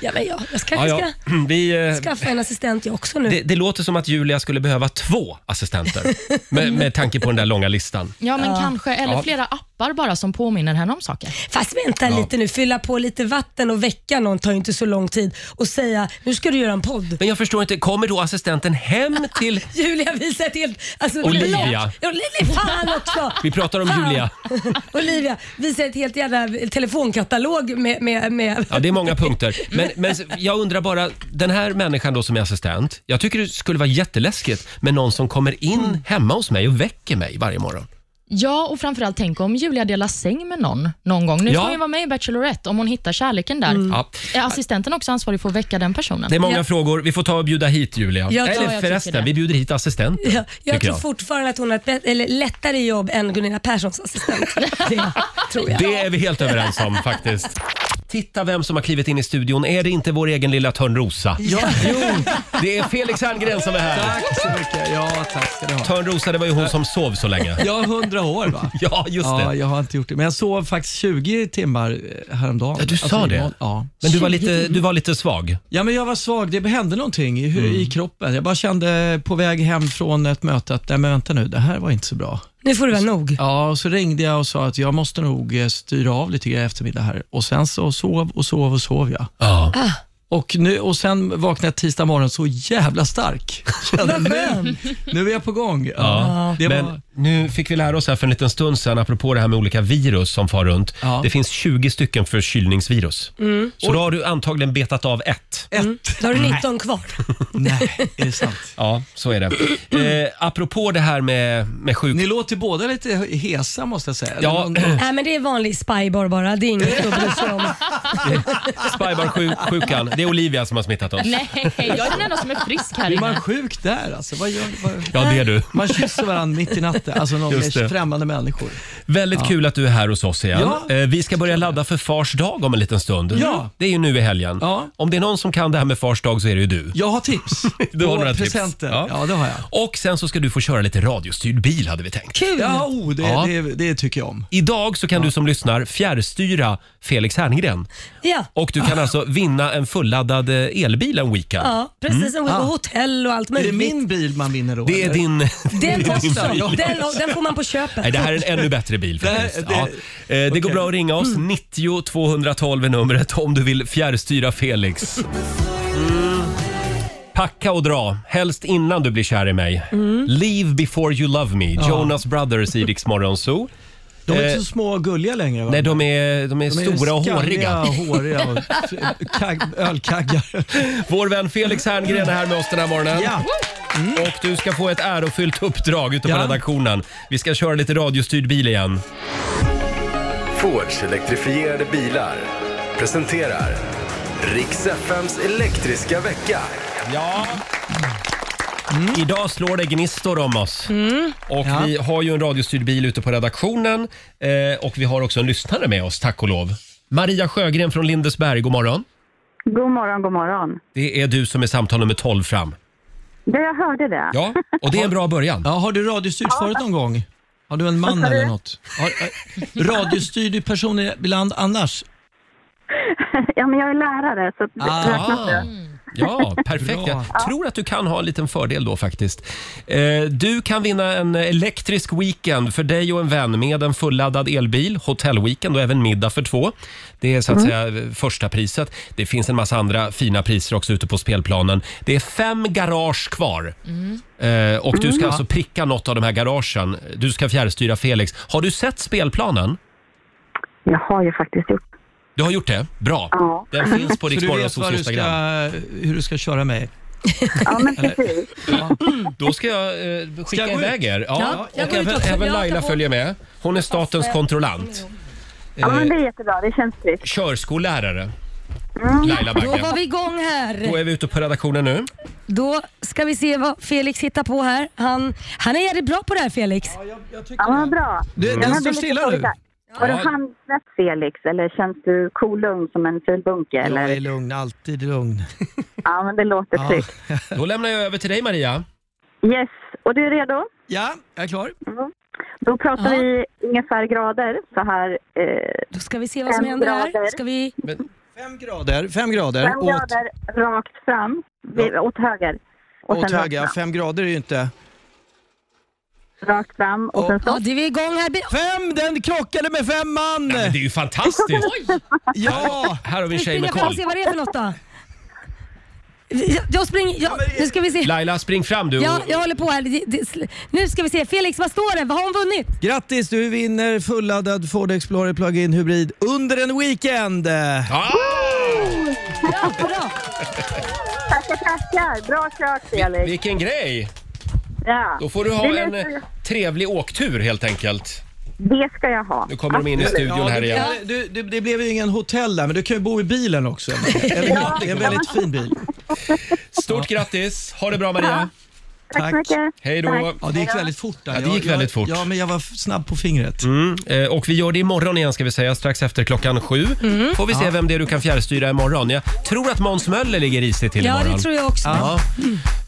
B: Ja, men jag, jag kanske
A: Ja, ja.
B: ska
A: Vi, eh,
B: skaffa en assistent jag också nu.
A: Det, det låter som att Julia skulle behöva två assistenter med, med tanke på den där långa listan.
C: Ja, men kanske. Eller
A: Ja.
C: flera appar bara som påminner henne om saker.
B: Fast vänta lite nu. Fylla på lite vatten och väcka någon tar ju inte så lång tid. Och säga, nu ska du göra en podd.
A: Men jag förstår inte, kommer då assistenten hem till...
B: Julia visar ett helt... Alltså,
A: Olivia.
B: blad. Ja, Olivia, fan också!
A: Vi pratar om
B: Fan.
A: Julia.
B: Olivia visar ett helt jävla telefonkatalog med... med, med.
A: Ja, det är många punkter. Men, men jag undrar bara, den här människan då som är assistent.
B: Mm.
A: Jag tycker det skulle vara jätteläskigt med någon som kommer in hemma hos mig och väcker mig varje morgon.
C: Ja, och framförallt tänk om Julia delar säng med någon någon gång. Nu
A: Ja.
C: får hon ju vara med i Bachelorette om hon hittar kärleken där.
A: Ja.
C: Är assistenten också ansvarig för att väcka den personen?
A: Det är många
B: Ja.
A: frågor. Vi får ta och bjuda hit Julia.
B: Ja,
A: Eller
C: ja, jag tycker
A: förresten,
C: det.
A: vi bjuder hit assistenten.
B: Ja, [LAUGHS] jag
A: tycker
B: tror fortfarande att hon har ett bet- eller lättare jobb än Gunilla Perssons assistent. Det tror jag.
A: Det är vi helt överens om faktiskt. Titta vem som har klivit in i studion. Är det inte vår egen lilla Törnrosa?
B: Ja.
A: Jo, det är Felix Herngren som är här.
G: Tack så mycket. Ja, tack ska ni ha.
A: Törnrosa, det var ju hon som sov så länge.
G: Jag är 100 år va?
A: [LAUGHS] Ja, just
G: Ja,
A: det.
G: jag har inte gjort det. Men jag sov faktiskt 20 timmar eh, häromdagen.
A: Ja, du sa det.
G: imorgon. Ja.
A: Men du var lite, du var lite svag.
G: ja, men jag var svag. Det hände någonting i, i
A: Mm.
G: kroppen. Jag bara kände på väg hem från ett möte att, nej men vänta nu, det här var inte så bra.
B: Nu får det vara nog.
G: Ja, och så ringde jag och sa att jag måste nog eh, styra av lite grann i eftermiddag här. Och sen så sov och sov och sov jag.
A: Ja.
G: Och, nu, och sen vaknade jag tisdag morgon så jävla stark. Kände, men nu är jag på gång. Ja, det var,
A: Men nu fick vi lära oss här för en liten stund sedan, apropå det här med olika virus som far runt.
G: Ja.
A: Det finns 20 stycken förkylningsvirus. Så då har du antagligen betat av ett.
B: Mm. Då har du 19 kvar.
G: Nej, är det sant?
A: Ja, så är det. Eh, apropå det här med, med sjuk...
G: Ni låter båda lite hesa måste jag säga.
A: Ja.
G: Eller någon-
B: Nej, men det är vanlig spybar bara. Det är inget att bry sig om.
A: Spybar-sjukan. Det är Olivia som har smittat oss.
C: Nej, jag är den enda som är frisk här
G: Blir
C: inne.
G: man sjuk där alltså? Vad gör, vad...
A: Ja, det är du.
G: Man kysser varandra mitt i natten, alltså någon
A: Just det.
G: är främmande människor.
A: Väldigt kul att du är här hos oss igen.
G: Ja.
A: Eh, Vi ska börja ladda för Fars dag om en liten stund. Mm.
G: Ja.
A: Det är ju nu i helgen.
G: Ja.
A: Om det är någon som kan det här med Fars dag så är det ju du.
G: Jag
A: [LAUGHS]
G: har tips.
A: Du har
G: På
A: några tips.
G: presenter.
A: Ja.
G: Ja. det har jag.
A: Och sen så ska du få köra lite radiostyrd bil hade vi tänkt.
B: Kul!
G: Ja, oh, det,
A: Ja.
G: Det, det tycker jag om.
A: Idag så kan du som lyssnar fjärrstyra Felix Herngren.
B: Ja.
A: Och du
G: Ah.
A: kan alltså vinna en fulladdad eh, elbil en weekend.
B: Ja, precis som ah.
G: Ah.
B: hotell och allt
G: Är det
B: möjligt.
G: min bil man vinner då?
A: Det är
G: eller?
A: din...
B: Den också.
G: Ja.
B: Den, den får man på köpet.
A: Nej, det här är en ännu bättre bil faktiskt.
G: Det Mm. här-
A: ja. Eh, det går bra att ringa oss. 90 212 är numret om du vill fjärrstyra Felix. Mm. Packa och dra, helst innan du blir kär i mig.
G: Mm.
A: Leave before you love me, Jonas Brothers i Rix Morgon Zoo.
G: De är
A: Eh,
G: inte så små och gulliga längre va?
A: Nej, de är, de är
G: De
A: stora och
G: skalliga,
A: håriga.
G: [LAUGHS] håriga och f- kag- ölkaggar.
A: [LAUGHS] Vår vän Felix Herngren är här med oss den här morgonen.
G: Ja.
A: Och du ska få ett ärofyllt uppdrag ute på
G: Ja.
A: redaktionen. Vi ska köra lite radiostyrd bil igen.
H: Fords elektrifierade bilar presenterar Riks FMs elektriska vecka.
A: Ja. Idag slår det gnistor om oss. Och
G: Ja.
A: Vi har ju en radiostyrd bil ute på redaktionen eh, och vi har också en lyssnare med oss, tack och lov. Maria Sjögren från Lindesberg, god morgon.
E: God morgon, god morgon.
A: Det är du som är samtal nummer 12 fram.
E: Det, jag hörde det.
A: Ja, och det är en bra början.
G: Ja, har du radiostyrt förut någon gång? Har du en man eller något? Har, eh, radiostyrd person ibland annars?
E: Ja, men jag är lärare, så det
G: Ah.
E: räknas det.
A: Ja, perfekt.
G: Bra.
A: Jag tror att du kan ha en liten fördel då faktiskt. Eh, Du kan vinna en elektrisk weekend för dig och en vän med en fulladdad elbil, hotellweekend och även middag för två. Det är så att säga eh, första priset. Det finns en massa andra fina priser också ute på spelplanen. Det är fem garage kvar. Eh, Och du ska alltså pricka något av de här garagen. Du ska fjärrstyra Felix. Har du sett spelplanen?
E: Jag har ju faktiskt gjort
A: Du har gjort det? Bra.
E: Ja.
A: Den finns på
G: Så du vet
A: Riksmorgonsols
G: vad du ska,
A: Instagram.
G: hur du ska köra mig?
E: Ja, men precis.
A: Då ska jag eh, skicka
G: jag gå
A: iväg er. Ja,
B: Ja, jag
A: och
B: går ut
A: även,
B: också.
A: även
B: Jag kan
A: Laila
B: få-
A: följer med. Hon är statens kontrollant.
E: Ja, men det är jättebra. Det känns tryggt.
A: Körskollärare.
B: Mm.
A: Laila
I: Då
A: Bagge.
I: var vi igång här.
A: Då är vi ute på redaktionen nu.
I: Då ska vi se vad Felix hittar på här. Han, han är jävligt bra på det här Felix.
E: Ja, men vad bra.
G: Du,
E: Jag
G: Den
E: hade
G: står
E: lite
G: stilla
E: dåligt
G: nu.
E: där. Var du
A: Ja.
E: handsvett Felix eller känns du kolugn som en filbunke?
G: Jag är
E: Eller?
G: lugn, alltid lugn.
E: Ja, men det låter tryggt.
A: Då lämnar jag över till dig Maria.
E: Yes, och du är redo?
G: Ja, jag är klar.
E: Då pratar
I: Ja.
E: vi ungefär grader så här. Eh,
I: Då ska vi se vad som
E: Fem
I: händer här.
E: grader.
I: Ska vi...
G: Fem grader, fem grader
E: fem
G: åt,
E: grader rakt fram, Vi- åt höger. Och
G: åt
E: sen
G: höger.
E: rakt fram.
G: Fem grader är ju inte...
E: Rakt fram och sen
I: Ja,
E: stopp.
I: det är vi igång här. Be-
G: Fem! Den krockade med femman!
A: Men det är ju fantastiskt!
G: Ja!
A: Här har vi en tjej
I: Springa
A: med
I: fram och
A: koll.
I: se vad det är för något då. Jag, jag springer... Jag, nu ska vi se.
A: Laila, spring fram du.
I: Ja,
A: och-
I: jag håller på här. Det- det- Nu ska vi se. Felix, vad står det? Vad har hon vunnit?
G: Grattis, du vinner fulladdad Ford Explorer Plug-in Hybrid under en weekend!
A: Ah!
I: Bra, bra.
E: Tackar, tackar. Bra kört Felix.
A: Vilken grej!
E: Ja.
A: Då får du ha
E: Det
A: en eh,
E: låter-
A: trevlig åktur helt enkelt.
E: Det ska jag ha.
A: Nu kommer de in i studion här
G: du,
A: igen.
G: Du, du, det blev ju ingen hotell där, men du kan ju bo i
A: [LAUGHS]
G: bilen också. Eller hur? Det är en väldigt fin bil.
A: Stort grattis! Ha det bra Maria!
E: Tack,
G: Tack.
E: så mycket.
A: Hej då!
E: Tack.
G: Ja, det gick väldigt fort. Där.
A: Ja, det
G: Jag-
A: gick
G: jag-
A: väldigt fort.
G: Ja, men jag var f- snabb på fingret.
A: Eh, Och vi gör det imorgon igen ska vi säga, strax efter klockan sju. Får vi se vem det är du kan fjärrstyra imorgon. Jag tror att Måns Möller ligger risigt till
B: Ja,
A: imorgon.
B: det tror jag också.
A: Ja.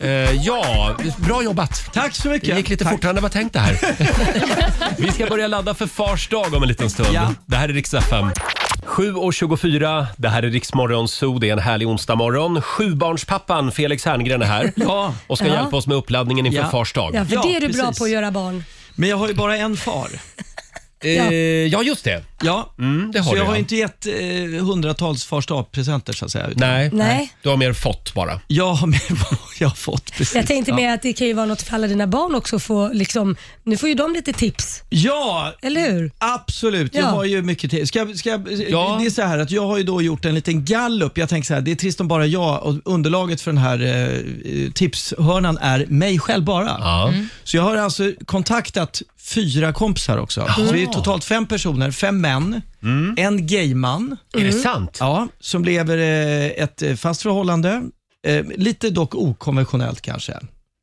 A: Eh, ja, bra jobbat.
G: Tack så mycket.
A: Det gick lite
G: Tack.
A: fortare än det var tänkt det här. Vi ska börja ladda för Fars dag om en liten stund.
G: Ja.
A: Det här är Rix FM. 7.24, det här är Riksmorgon Zoo, det är en härlig onsdagmorgon. Sjubarnspappan Felix Herngren är här
G: Ja.
A: och ska hjälpa oss med uppladdningen inför
G: Ja.
A: Fars dag.
B: Ja, för
G: Ja,
B: det är du bra
G: precis.
B: på att göra barn.
G: Men jag har ju bara en far.
A: Eh, ja, just det.
G: Ja,
A: Mm, det har
G: så
A: du,
G: jag har
A: ja.
G: ju inte gett eh, hundratals fars presenter så att säga. utan
A: Nej.
B: Nej.
A: du har mer fått bara.
G: Jag [LAUGHS] har med vad jag har fått. Precis.
B: Jag tänkte
G: ja.
B: mer att det kan ju vara något för alla dina barn också att få liksom, nu får ju de lite tips,
G: Ja,
B: eller hur?
G: Absolut, jag
B: Ja.
G: har ju mycket till. Ska, ska, eh,
A: Ja.
G: Det är så här att jag har ju då gjort en liten gallup. Jag tänker så här, det är trist om bara jag och underlaget för den här eh, tipshörnan är mig själv bara.
A: Ja.
G: Så jag har alltså kontaktat fyra kompisar också. Så vi är totalt fem personer, fem män,
A: Mm.
G: en gayman,
A: Är det sant?
G: Mm. ja, som lever eh, ett eh, fast förhållande. Eh, lite dock okonventionellt kanske.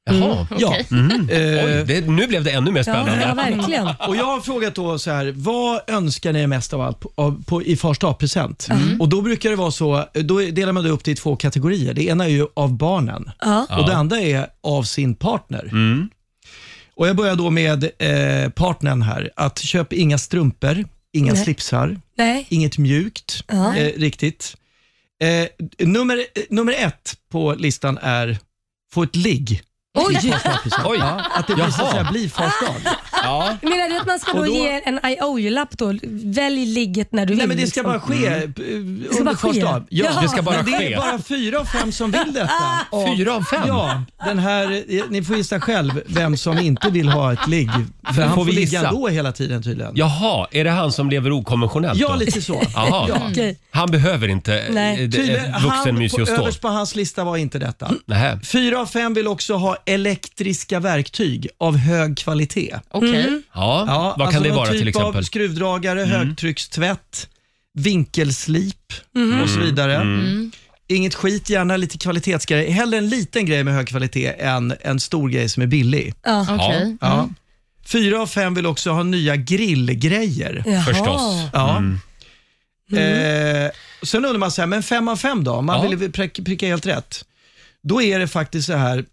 A: Jaha.
C: Okej.
A: Mm.
G: Ja.
A: [LAUGHS]
G: Eh,
A: Oj, det, nu blev det ännu mer
B: Ja, ja,
A: spännande.
B: verkligen.
G: Och jag har frågat då så här, vad önskar ni er mest av allt på, av, på, i fars present Och då brukar det vara så, då delar man det upp det i två kategorier. Det ena är ju av barnen
B: Ja.
G: och det andra är av sin partner.
A: Mm.
G: Och jag börjar då med eh, partnern här, att köp inga strumpor, inga
B: Nej.
G: slipsar,
B: Nej.
G: inget mjukt
B: Ja.
G: eh, riktigt. Eh, nummer, eh, nummer ett på listan är få ett ligg.
B: Oj!
G: i fars dagpresent.
A: Oj.
G: Ja, att det blir, så att
A: Jaha.
G: säga, blir fars dag.
A: Ja.
B: Menar du att man ska då,
G: Och då-
B: ge en IOU-lapp då? Välj ligget när du vill.
G: Nej, men det ska
B: liksom.
G: bara ske Mm. eh,
B: ska
G: under
B: bara ske.
G: första av.
B: Jaha.
A: Mm. Det ska bara
G: men det
A: ske.
G: är bara fyra av fem som vill detta.
B: Ah.
G: Och-
A: Fyra av fem?
G: Ja, den här, eh, ni får gissa själv vem som inte vill ha ett ligg. För han
A: Får
G: får,
A: vi gissa?
G: ligga då hela tiden tydligen.
A: Jaha, är det han som lever okonventionellt
G: Ja,
A: då?
G: lite så.
A: Jaha.
B: Okej.
A: Han behöver inte eh,
B: Nej.
A: Nej.
G: Tydligen, han,
A: vuxenmysig
G: på,
A: och stål.
G: överst på hans lista var inte detta.
A: Nähä.
G: Fyra av fem vill också ha elektriska verktyg av hög kvalitet.
C: Okej.
A: Ja, vad kan
G: alltså
A: det
G: någon
A: vara
G: typ
A: till exempel? Mm.
G: Av skruvdragare, högtryckstvätt, vinkelslip och så vidare. Inget skit, gärna lite kvalitetsgrej. Hellre en liten grej med hög kvalitet än en stor grej som är billig.
C: Okej.
G: Ja. Fyra av fem vill också ha nya grillgrejer.
B: Jaha.
A: Förstås.
G: Ja. Eh, sen undrar man så här, men fem av fem då? Om Man
A: Ja.
G: vill prick, pricka helt rätt. Då är det faktiskt så här,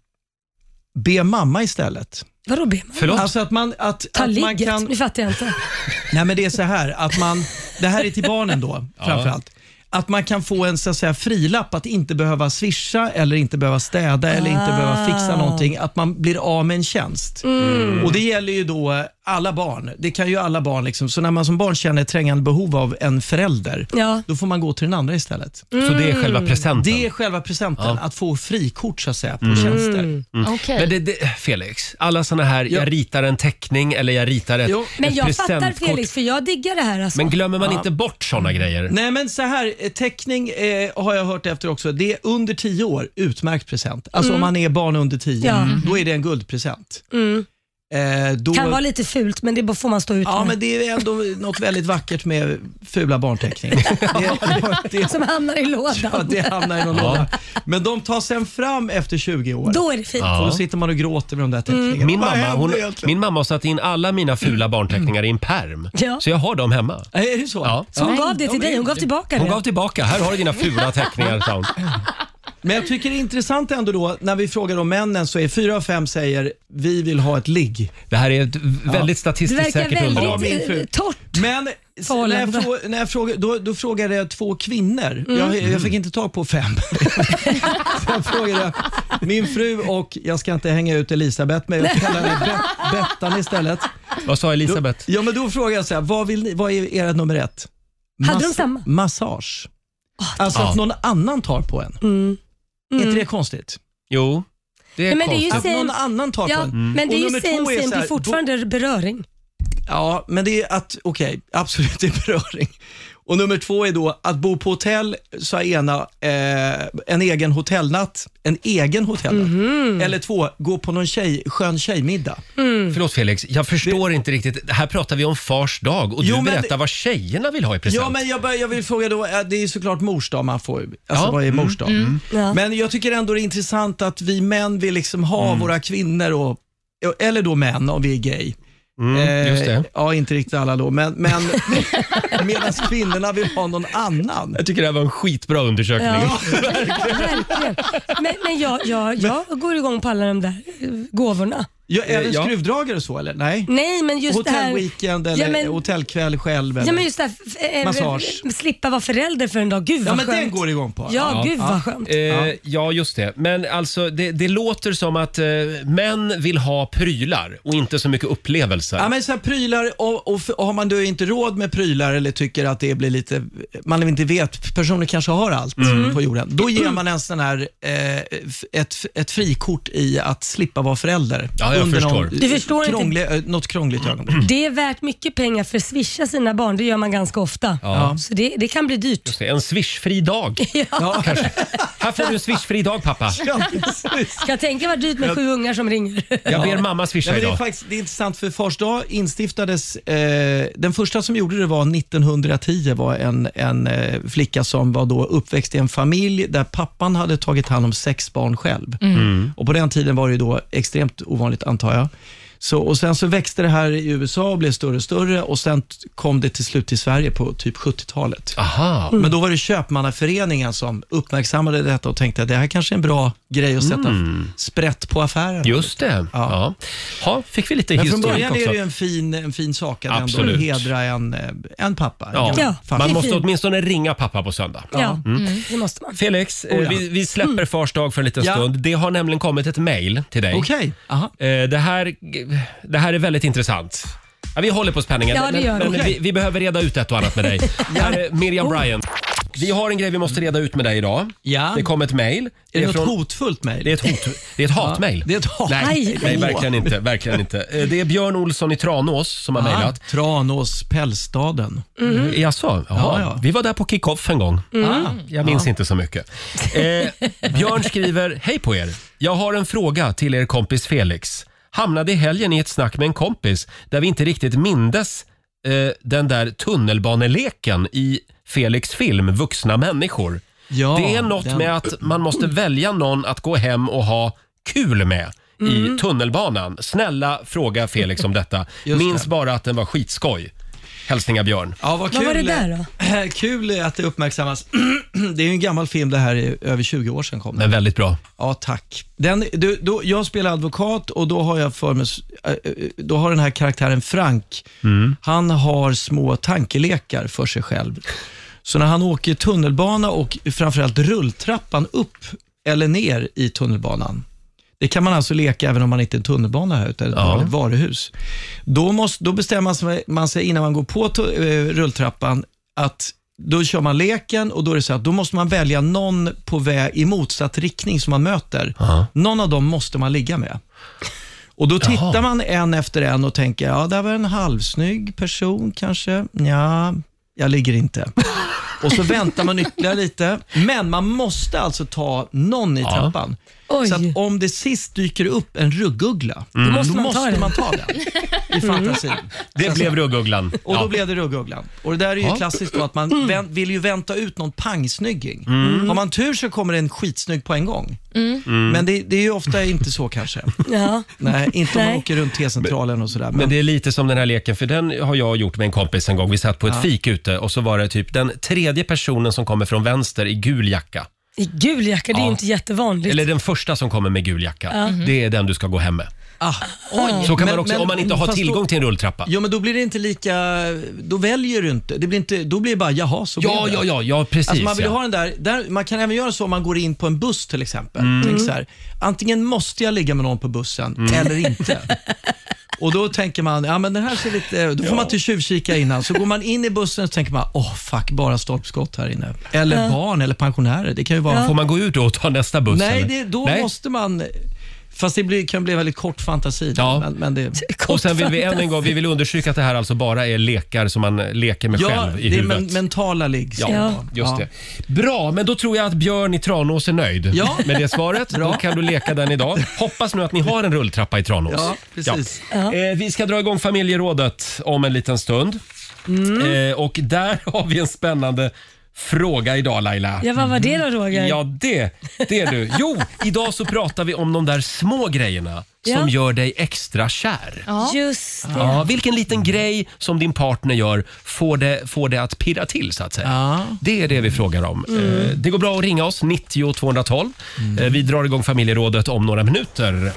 G: be mamma istället.
B: Vadå ber man?
A: Förlåt?
G: Alltså att man, att,
B: Ta
G: att man
B: ligget?
G: kan...
B: Nu fattar jag inte.
G: Nej men det är så här att man, det här är till barnen då framförallt. Att man kan få en så att säga, frilapp att inte behöva swisha eller inte behöva städa eller inte behöva fixa någonting. Att man blir av med en tjänst. Och det gäller ju då alla barn. Det kan ju alla barn liksom. Så när man som barn känner ett trängande behov av en förälder,
B: Ja.
G: då får man gå till den andra istället.
A: Så det är själva presenten?
G: mm. Det är själva presenten, att få frikort så att säga på tjänster.
A: Men
C: Mm. Okej.
A: det, det, Felix, alla såna här, jag ritar en teckning eller jag ritar ett,
G: Jo.
B: Men
A: ett
B: jag fattar
A: presentkort.
B: Felix, för jag diggar det här alltså.
A: Men glömmer man inte bort såna grejer?
G: Nej men så här, eh, teckning eh, har jag hört efter också. Det är under 10 år, utmärkt present. Alltså om man är barn under 10,
B: Mm. Ja. Mm.
G: då är det en guldpresent. Eh, då,
B: kan vara lite fult, men det bara får man stå ut
G: Ja
B: med.
G: men det är ändå något väldigt vackert med
B: [LAUGHS]
G: fula barnteckningar. det, det, [LAUGHS]
B: Som hamnar i
G: ja,
B: lådan.
G: det hamnar i någon låda. Men de tas sen fram efter 20 år.
B: Då Mm. är det fint.
G: Och
A: Ja.
G: då sitter man och gråter med de där teckningarna.
A: Min
G: Vad
A: mamma,
G: hände
A: hon,
G: egentligen?
A: min mamma har satt in alla mina fula barnteckningar i en perm.
B: Ja.
A: Så jag har dem hemma.
G: Äh, Är det så?
A: Ja.
B: Så hon
C: Ja.
B: gav det till dig, hon gav tillbaka
A: Hon
B: det.
A: gav tillbaka. Här har du dina fula teckningar, sa hon.
G: Men jag tycker det är intressant ändå då, när vi frågar om männen så är fyra av fem säger vi vill ha ett ligg.
A: Det här är ett väldigt
B: Det
A: statistiskt
B: verkar
A: säkert underlag.
B: väldigt eh, torrt.
G: Men s- när jag
B: Förhållande.
G: frå- när jag frågade, då, då frågade jag två kvinnor.
B: Mm.
G: Jag, jag fick inte tag på fem. [LAUGHS] så jag frågade min fru och, jag ska inte hänga ut Elisabeth, men jag kallar henne Bet-
B: [LAUGHS]
G: Bettan istället.
B: eh,
A: Vad sa
G: Då,
A: Elisabeth?
G: ja, men då frågade jag så här, vad, vill ni, vad är era nummer ett?
B: Hade de samma? Ah,
G: Massage. alltså
A: Ja.
G: att någon annan tar på en.
B: Mm.
G: Är inte det konstigt?
A: Jo, det är
B: Nej, men det är ju
A: konstigt.
G: Att någon
B: Same.
G: annan tar på
B: Ja,
G: en.
B: men det är
G: Och
B: ju
G: nummer två
B: same
G: är
B: same,
G: så
B: det är
G: här,
B: fortfarande beröring.
G: [LAUGHS] Ja, men det är att, okej, absolut det är beröring. Och nummer två är då att bo på hotell, så är ena eh, en egen hotellnatt. En egen hotellnatt. Eller två, gå på någon tjej, skön tjejmiddag.
A: Förlåt Felix, jag förstår inte riktigt. Här pratar vi om fars dag och
G: Jo,
A: du
G: men-
A: berättar vad tjejerna vill ha i present.
G: Ja, men jag, bör, jag vill fråga då, eh, det är ju såklart mors dag man får. Alltså
A: Ja. Mm.
G: vad är mors dag?
B: Ja.
G: Men jag tycker ändå det är intressant att vi män vill liksom ha
A: Mm.
G: våra kvinnor, och, eller då män om vi är gay. Eh,
A: Mm, just det.
G: Ja, inte riktigt alla då, men, men
A: [LAUGHS]
G: [LAUGHS] medan kvinnorna vill ha någon annan.
A: Jag tycker det här var en skitbra undersökning.
B: Ja. Verkligen. Men, men jag, jag, jag går igång på alla de där eh, gåvorna.
G: Ja, även
A: ja.
G: skruvdragare och så eller? Nej?
B: Nej, men Eh, Mm, just det här...
G: Hotellweekend eller
B: Ja, men-
G: hotellkväll själv? Eller?
B: Ja, men just det här, f- eh,
G: Massage.
B: eh, Slippa vara förälder för en dag. Gud vad
G: ja, men
B: skönt.
G: den går igång på.
B: Ja, gud vad skönt.
A: [LAUGHS] Eh, ja. just det. Men alltså, det, det låter som att eh, män vill ha prylar och inte så mycket upplevelser.
G: Ja, men så här prylar och, och, och har man då inte råd med prylar eller tycker att det blir lite, man inte vet, personer kanske har allt
B: Mm.
G: på jorden. Då ger man en sån här, eh, f- ett, ett frikort i att slippa vara förälder.
A: Ja, jag förstår.
B: Du förstår inte-
G: krånglig, inte. Något krångligt ögonblick.
B: Det är värt mycket pengar för att swisha sina barn. Det gör man ganska ofta.
A: Ja.
B: Så det, det kan bli dyrt.
A: Just det, En swishfri dag.
G: [LAUGHS] Ja.
A: Kanske. Här får du en swishfri dag pappa.
B: Mm. [LAUGHS]
G: Ja, [LAUGHS] precis.
B: Kan jag tänka vad dyrt med sju ungar som ringer.
A: Jag ber mamma swisha
G: Nej, men det, är
A: idag.
G: faktiskt, det är intressant för Fars dag instiftades, eh, den första som gjorde det var 1910, var en, en eh, flicka som var då uppväxt i en familj där pappan hade tagit hand om sex barn själv. Och På den tiden var det ju då extremt ovanligt antar jag. Så, och Sen så växte det här i USA och blev större och större och sen t- kom det till slut till Sverige på typ 70-talet.
A: Aha.
G: Men då var det köpmannaföreningen som uppmärksammade detta och tänkte att det här kanske är en bra grej att sätta sprätt på affären.
A: Just det. Ja.
G: Ja.
A: Ha, fick vi lite
G: Men från
A: historik
G: början är
A: också.
G: det ju en fin, en fin sak att
A: Absolut.
G: ändå hedra en, eh, en pappa.
A: Ja.
G: En
B: Ja.
G: farfar.
A: Man
B: är
A: måste
B: fint.
A: åtminstone ringa pappa på söndag.
B: [LAUGHS] Ja,
G: Mm.
B: Mm. det måste man.
A: Felix, eh,
G: Oh, ja.
A: vi, vi släpper fars dag för en liten
G: Ja.
A: stund. Det har nämligen kommit ett mejl till dig.
G: Okej. Aha.
A: Eh, Det här, det här är väldigt intressant. Ja, vi håller på spänningen.
B: Ja, det gör
A: men,
B: vi.
A: men vi, vi behöver reda ut ett och annat
G: [LAUGHS]
A: med dig. Här är Miriam Bryant. Vi har en grej vi måste reda ut med dig idag.
G: Oh. Ja.
A: Det kom ett mejl.
G: Är det,
A: är
G: något
A: från-
G: hotfullt mejl?
A: Det är ett, hot, det är ett hatmejl.
G: Det är ett hat.
A: Nej,
B: Aj.
A: nej, verkligen inte. Verkligen inte. Eh, Det är Björn Olsson i Tranås som har
G: Ja.
A: mejlat.
G: Ah, Tranås, pälsstaden.
A: Mm. Jaså? Ja,
G: Ja, ja.
A: Vi var där på kick-off en gång.
G: Ah.
A: Jag minns inte så mycket. Eh, Björn skriver, hej på er. Jag har en fråga till er kompis Felix. Hamnade i helgen i ett snack med en kompis där vi inte riktigt mindes eh, den där tunnelbaneleken i Felix film Vuxna människor.
G: Ja,
A: det är något
G: den-
A: med att man måste välja någon att gå hem och ha kul med
G: Mm.
A: i tunnelbanan. Snälla fråga Felix om detta.
G: [LAUGHS] Just
A: Minns
G: det.
A: bara att den var skitskoj. Hälsningar Björn.
G: Ja, vad, kul.
B: Vad var det där
G: då? [CLEARS THROAT] Kul att det uppmärksammas. [CLEARS THROAT] det är ju en gammal film, det här är över 20 år sedan kom den.
A: Men väldigt bra.
G: Ja, tack. Den, du, då, jag spelar advokat och då har jag för mig, eh, eh, då har den här karaktären Frank, han har små tankelekar för sig själv. Så när han åker tunnelbana och framförallt rulltrappan upp eller ner i tunnelbanan, det kan man alltså leka även om man inte är en tunnelbana här, utan ett
A: Ja.
G: vanligt varuhus. Då, måste, då bestämmer sig- man sig innan man går på tu- eh, rulltrappan att då kör man leken och då är det så att då måste man välja någon på väg i motsatt riktning som man möter.
A: Aha.
G: Någon av dem måste man ligga med. Och då tittar
A: Jaha.
G: man en efter en och tänker, ja, där var en halvsnygg person kanske. Ja, jag ligger inte. Och så väntar man ytterligare lite. Men man måste alltså ta någon i
A: Ja.
G: trappan.
B: Oj.
G: Så att om det sist dyker upp en rugguggla,
A: Mm.
B: Då
G: då
B: måste
G: måste,
B: man ta den.
G: man ta den. I fantasin.
A: Det blev rugguglan.
G: [LAUGHS] Och
A: Mm. Ja.
G: då blev det ruggugglan. Och det där är ju
A: Ja. Mm.
G: klassiskt då att man vän- vill ju vänta ut någon pangsnygging. Har man tur så kommer det en skitsnygg på en gång.
A: Mm.
G: Men det, det är ju ofta inte så kanske.
B: Ja.
G: Nej, inte om man
B: Nej.
G: åker runt T-centralen och sådär.
A: Men
G: Men
A: det är lite som den här leken, för den har jag gjort med en kompis en gång. Vi satt på ett fik ute och så var det typ den tredje personen som kommer från vänster i gul jacka.
B: I gul jacka, det är ju inte jättevanligt.
A: Eller den första som kommer med gul jacka. Det är den du ska gå hem med.
G: ah, oj.
A: Så kan man
G: Mm-hmm. Men-
A: också,
G: men-
A: om man inte har
G: fast
A: tillgång
G: Då,
A: till en rulltrappa.
G: Jo, men då blir det inte lika... Då väljer du inte. Det blir inte då blir det bara, jaha, så
A: Ja,
G: blev
A: ja,
G: det.
A: ja, ja precis.
G: Alltså man vill
A: ja.
G: ha den där, där, man kan även göra så om man går in på en buss till exempel.
A: Mm.
G: Tänk så här, antingen måste jag ligga med någon på bussen eller
A: [LAUGHS]
G: inte. Och då tänker man, ja men den här ser lite, då får man inte tjuvkika innan. Så går man in i bussen och tänker man, åh oh, fuck, bara stolpskott här inne. Eller barn eller pensionärer. Det kan ju vara...
A: Får man gå ut då och ta nästa buss?
G: Nej,
A: eller?
G: det, då måste man... Fast det blir, kan bli väldigt kort fantasi.
A: Ja.
G: Men, men det,
A: Och sen vill vi än en gång vi vill understryka att det här alltså bara är lekar som man leker med
G: ja,
A: själv i
G: det är
A: huvudet.
G: men, mentala ligg.
A: Ja, just
G: Ja.
A: det. Bra, men då tror jag att Björn i Tranås är nöjd
G: Ja.
A: med det svaret. Då kan du leka den idag. Hoppas nu att ni har en rulltrappa i Tranås.
G: Ja, precis.
A: Ja. Eh, vi ska dra igång familjerådet om en liten stund.
G: Mm.
A: Eh, och där har vi en spännande fråga idag Laila.
B: Ja, vad var det då Roger?
A: Ja, det, det är du. Jo, idag så pratar vi om de där små grejerna som
B: Ja.
A: gör dig extra kär.
C: Ja.
B: Just det.
A: Ja, vilken liten grej som din partner gör får det, får det att pirra till så att säga.
G: Ja.
A: Det är det vi frågar om. Eh, Det går bra att ringa oss, 90 212. Eh, Vi drar igång familjerådet om några minuter.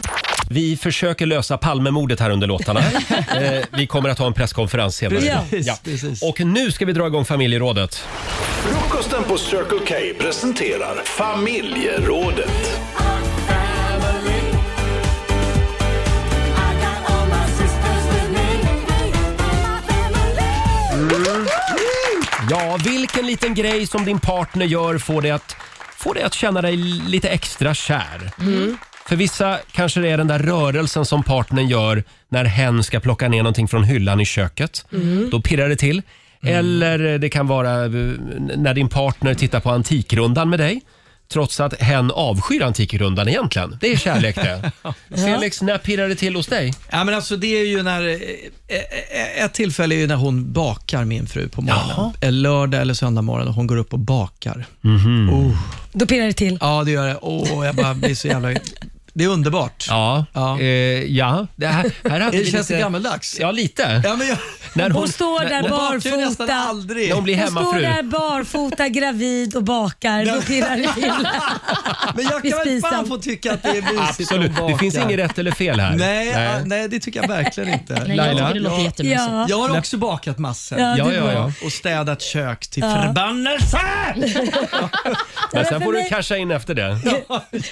A: Vi försöker lösa Palmemordet här under låtarna. Eh, vi kommer att ha en presskonferens senare.
B: Ja.
G: Precis, precis.
A: Och nu ska vi dra igång familjerådet.
D: Frukosten på Circle K presenterar familjerådet.
A: Ja, vilken liten grej som din partner gör får dig att, får dig att känna dig lite extra kär. För vissa kanske det är den där rörelsen som partnern gör när hen ska plocka ner någonting från hyllan i köket. Då pirrar det till. Eller det kan vara eh, när din partner tittar på Antikrundan med dig. Trots att hen avskyr Antikrundan egentligen. Det är kärlek det. Felix, när pirrar det till hos dig?
G: Ja, men alltså, det är ju när, eh, eh, ett tillfälle är ju när hon bakar min fru på morgonen. Eh, Lördag eller söndag morgon och hon går upp och bakar.
A: Mm.
G: Oh.
B: Då pirrar det till.
G: Ja, det gör det. Oh, jag bara blir så jävla... Det är underbart.
A: Ja.
G: Ja.
A: Eh, ja. Det här, här hade
G: [LAUGHS] Det
A: vi
G: känns
A: lite-
G: gammaldags.
A: Ja, lite.
G: Ja, men jag,
A: När hon,
B: Hon står
A: när-
B: där
G: jag bakar ju nästan
B: barfota.
G: aldrig.
A: när hon blir
B: Hon står
A: hemmafru.
B: där barfota, gravid
A: [LAUGHS]
B: och bakar. Då pirrar det till.
G: Men jag
B: vid
G: kan väl fan
B: spisen.
G: få tycka att det är mysigt
A: Absolut.
G: att baka.
A: Det finns inget rätt eller fel här.
G: Nej, nej. nej det tycker jag verkligen inte.
C: Nej, jag tycker det låter jättemysigt.
B: Ja.
G: Jag har också bakat massor.
B: Ja,
A: Ja,
B: det är
A: ja,
B: bra.
A: ja.
G: Och städat kök till förbannelse!
A: Men sen
B: för
A: får du
B: mig-
A: casha in efter det.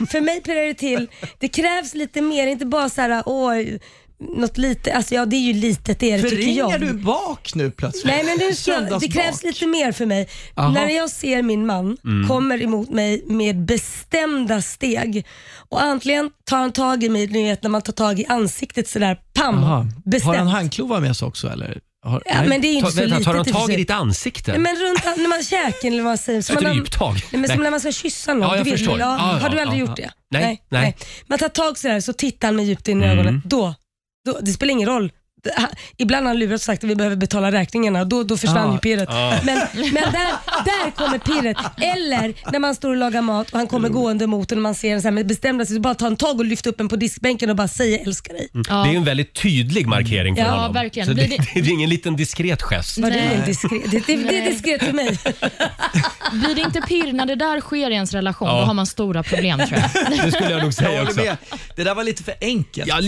B: För mig pirrar det till. Det krävs lite mer, inte bara så här, åh, något lite. Alltså ja, det är ju litet det är det tycker
G: Förringar
B: jag.
G: du bak nu plötsligt?
B: Nej men nu ska, det
G: Söndagsbak.
B: krävs lite mer för mig.
G: Aha.
B: När jag ser min man
A: Mm.
B: kommer emot mig med bestämda steg och antingen tar han tag i mig, ni vet när man tar tag i ansiktet sådär, pam,
G: Jaha. Har
B: bestämt.
G: han handklovar med sig också eller? Har,
B: ja, men det är ju
A: Ta,
B: inte så
A: vänta,
B: litet
A: tar han
B: i och för
A: tag i
B: sig.
A: ditt ansikte?
B: Nej, men runt an- när man käken eller vad man säger. Så
A: Ett
B: man har-
A: dryptag?
B: Nej, men
A: Nej.
B: som när man ska kyssa någon.
A: Ja, jag
B: du vet,
A: förstår.
B: Ja,
A: Ja,
B: har du
A: ja,
B: aldrig
A: ja,
B: gjort
A: ja.
B: det?
A: Nej, nej.
B: Man tar tag sådär så tittar han mig djupt in i ögonen. Då, då, det spelar ingen roll. Det- ha- Ibland har han lurat och sagt att vi behöver betala räkningarna. Då, då försvann
G: Ja,
B: ju pirret.
A: ja.
B: Men, men där, där kommer pirret. Eller när man står och lagar mat och han kommer gående mot en och man ser en så här med bestämda sig. Så bara ta en tag och lyfta upp en på diskbänken och bara säga älskar dig.
A: Det är ju en väldigt tydlig markering från
C: Ja,
A: honom.
C: verkligen.
A: Så det,
C: Blir
A: det
C: det-
A: är ingen liten diskret
B: [LAUGHS]
A: gest.
B: Var det,
C: Nej.
B: en diskret? Det, det, det är
C: Nej.
B: diskret för mig.
C: Blir det inte pirr när det där sker i ens relation,
A: Ja.
C: då har man stora problem tror
A: [LAUGHS]
C: jag.
A: Det skulle jag nog
G: Jag
A: säga
G: håller
A: också.
G: med. Det där var lite för enkelt.
A: Ja,
B: Var det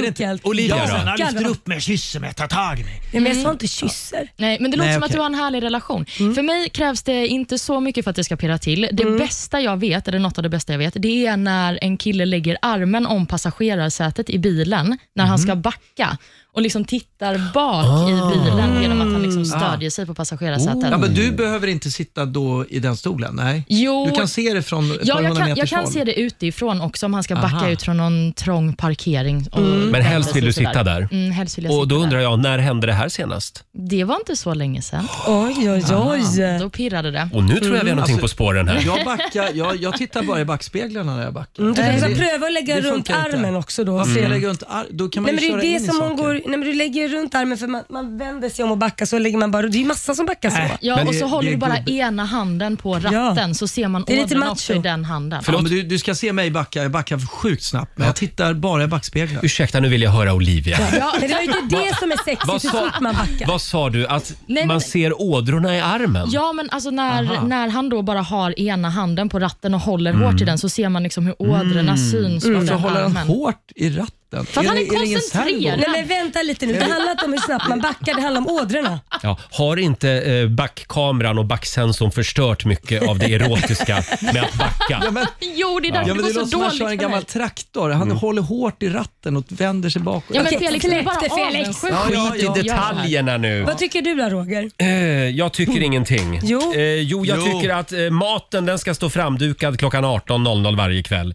A: lite.
B: enkelt?
A: Olivia
B: Ja,
A: då?
B: men han lyfter upp
G: mig, kysser mig, tar tag i mig.
B: Nej, men jag sa inte kysser.
C: Nej, men det låter
G: Nej,
C: som
G: okej.
C: att du har en härlig relation. För mig krävs det inte så mycket för att det ska pirra till. Det bästa jag vet, eller något av det bästa jag vet, det är när en kille lägger armen om passagerarsätet i bilen när han ska backa och liksom tittar bak i bilen genom att han liksom stödjer sig på passagerarsätet.
G: Ja, men du behöver inte sitta då i den stolen, nej?
C: Jo.
G: Du kan se det från ett par
C: Ja, jag
G: hundra
C: kan, jag
G: meters
C: kan
G: håll.
C: se det utifrån också om han ska backa
G: Aha.
C: ut från någon trång parkering. Och
A: Men helst vill du
C: sådär.
A: sitta där.
C: Mm, helst vill jag
A: Och då
C: sitta
A: undrar
C: där.
A: jag, när hände det här senast?
C: Det var inte så länge sedan.
B: Oj, oj, oj.
C: Då pirrade det.
A: Och nu tror jag vi
G: Mm.
A: har någonting på
G: Alltså-
A: spåren här.
G: Jag, backar, jag, jag tittar bara i backspeglarna när jag backar.
B: Mm, Du kan
G: Nej,
B: väl
G: det-
B: pröva att lägga
G: det
B: runt
G: funkar inte.
B: armen också då.
G: Varför
B: Ser-
G: jag lägger runt ar- Då kan man
B: Nej, men det är
G: ju köra
B: ju
G: in
B: det
G: i
B: som hon
G: saker.
B: går, nej, men du lägger ju runt armen för man, man vänder sig om och backar så lägger man bara, det är ju massa som backar så.
C: Ja,
G: Men
C: och
G: det-
C: så
G: det
C: håller
G: är
C: du bara
G: gubbe-
C: ena handen på ratten så ser man
B: Det är lite
C: ådran också i
B: macho.
C: den handen.
G: Ja, men du, du ska se mig backa, jag backar sjukt snabbt, men jag tittar bara i backspeglarna.
A: Ursäkta, nu vill jag höra Olivia.
B: Ja, men det var ju inte det som är
A: Vad
B: sexigt, hur
A: sa,
B: fort man backar.
A: vad sa du? Att
C: men-
A: man ser ådrorna i armen?
C: Ja, men alltså
G: Aha.
C: när, när han då bara har ena handen på ratten och håller hårt i den så ser man liksom hur ådrorna syns på
G: Varför
C: den
G: Mm. håller han
C: armen.
G: hårt i ratten?
C: För att han
G: det-
C: är
G: det ingen servo?
C: koncentrerad.
B: Nej men vänta lite nu, det handlar inte om hur snabbt man backar, det handlar om ådrorna.
A: Ja, har inte eh, backkameran och backsensorn förstört mycket av
G: [LAUGHS]
A: det erotiska med att backa?
G: Ja, men,
C: Jo, det är därför
G: ja, men
C: det
G: det
C: går
G: låter
C: så
G: som att
C: dåligt
G: han kör en
C: för mig.
G: gammal traktor. Han
A: Mm.
G: håller hårt i ratten och vänder sig bakåt.
C: Ja, men
B: Okej,
C: Felix, du är bara
B: släpp det, Felix.
C: avundsjuk.
G: Ja, ja,
A: Skit i detaljerna nu.
B: Vad tycker du då Roger?
A: Eh, jag tycker ingenting.
B: Jo.
A: Eh, jo jag
G: Jo.
A: tycker att eh, maten den ska stå framdukad klockan 18.00 varje kväll.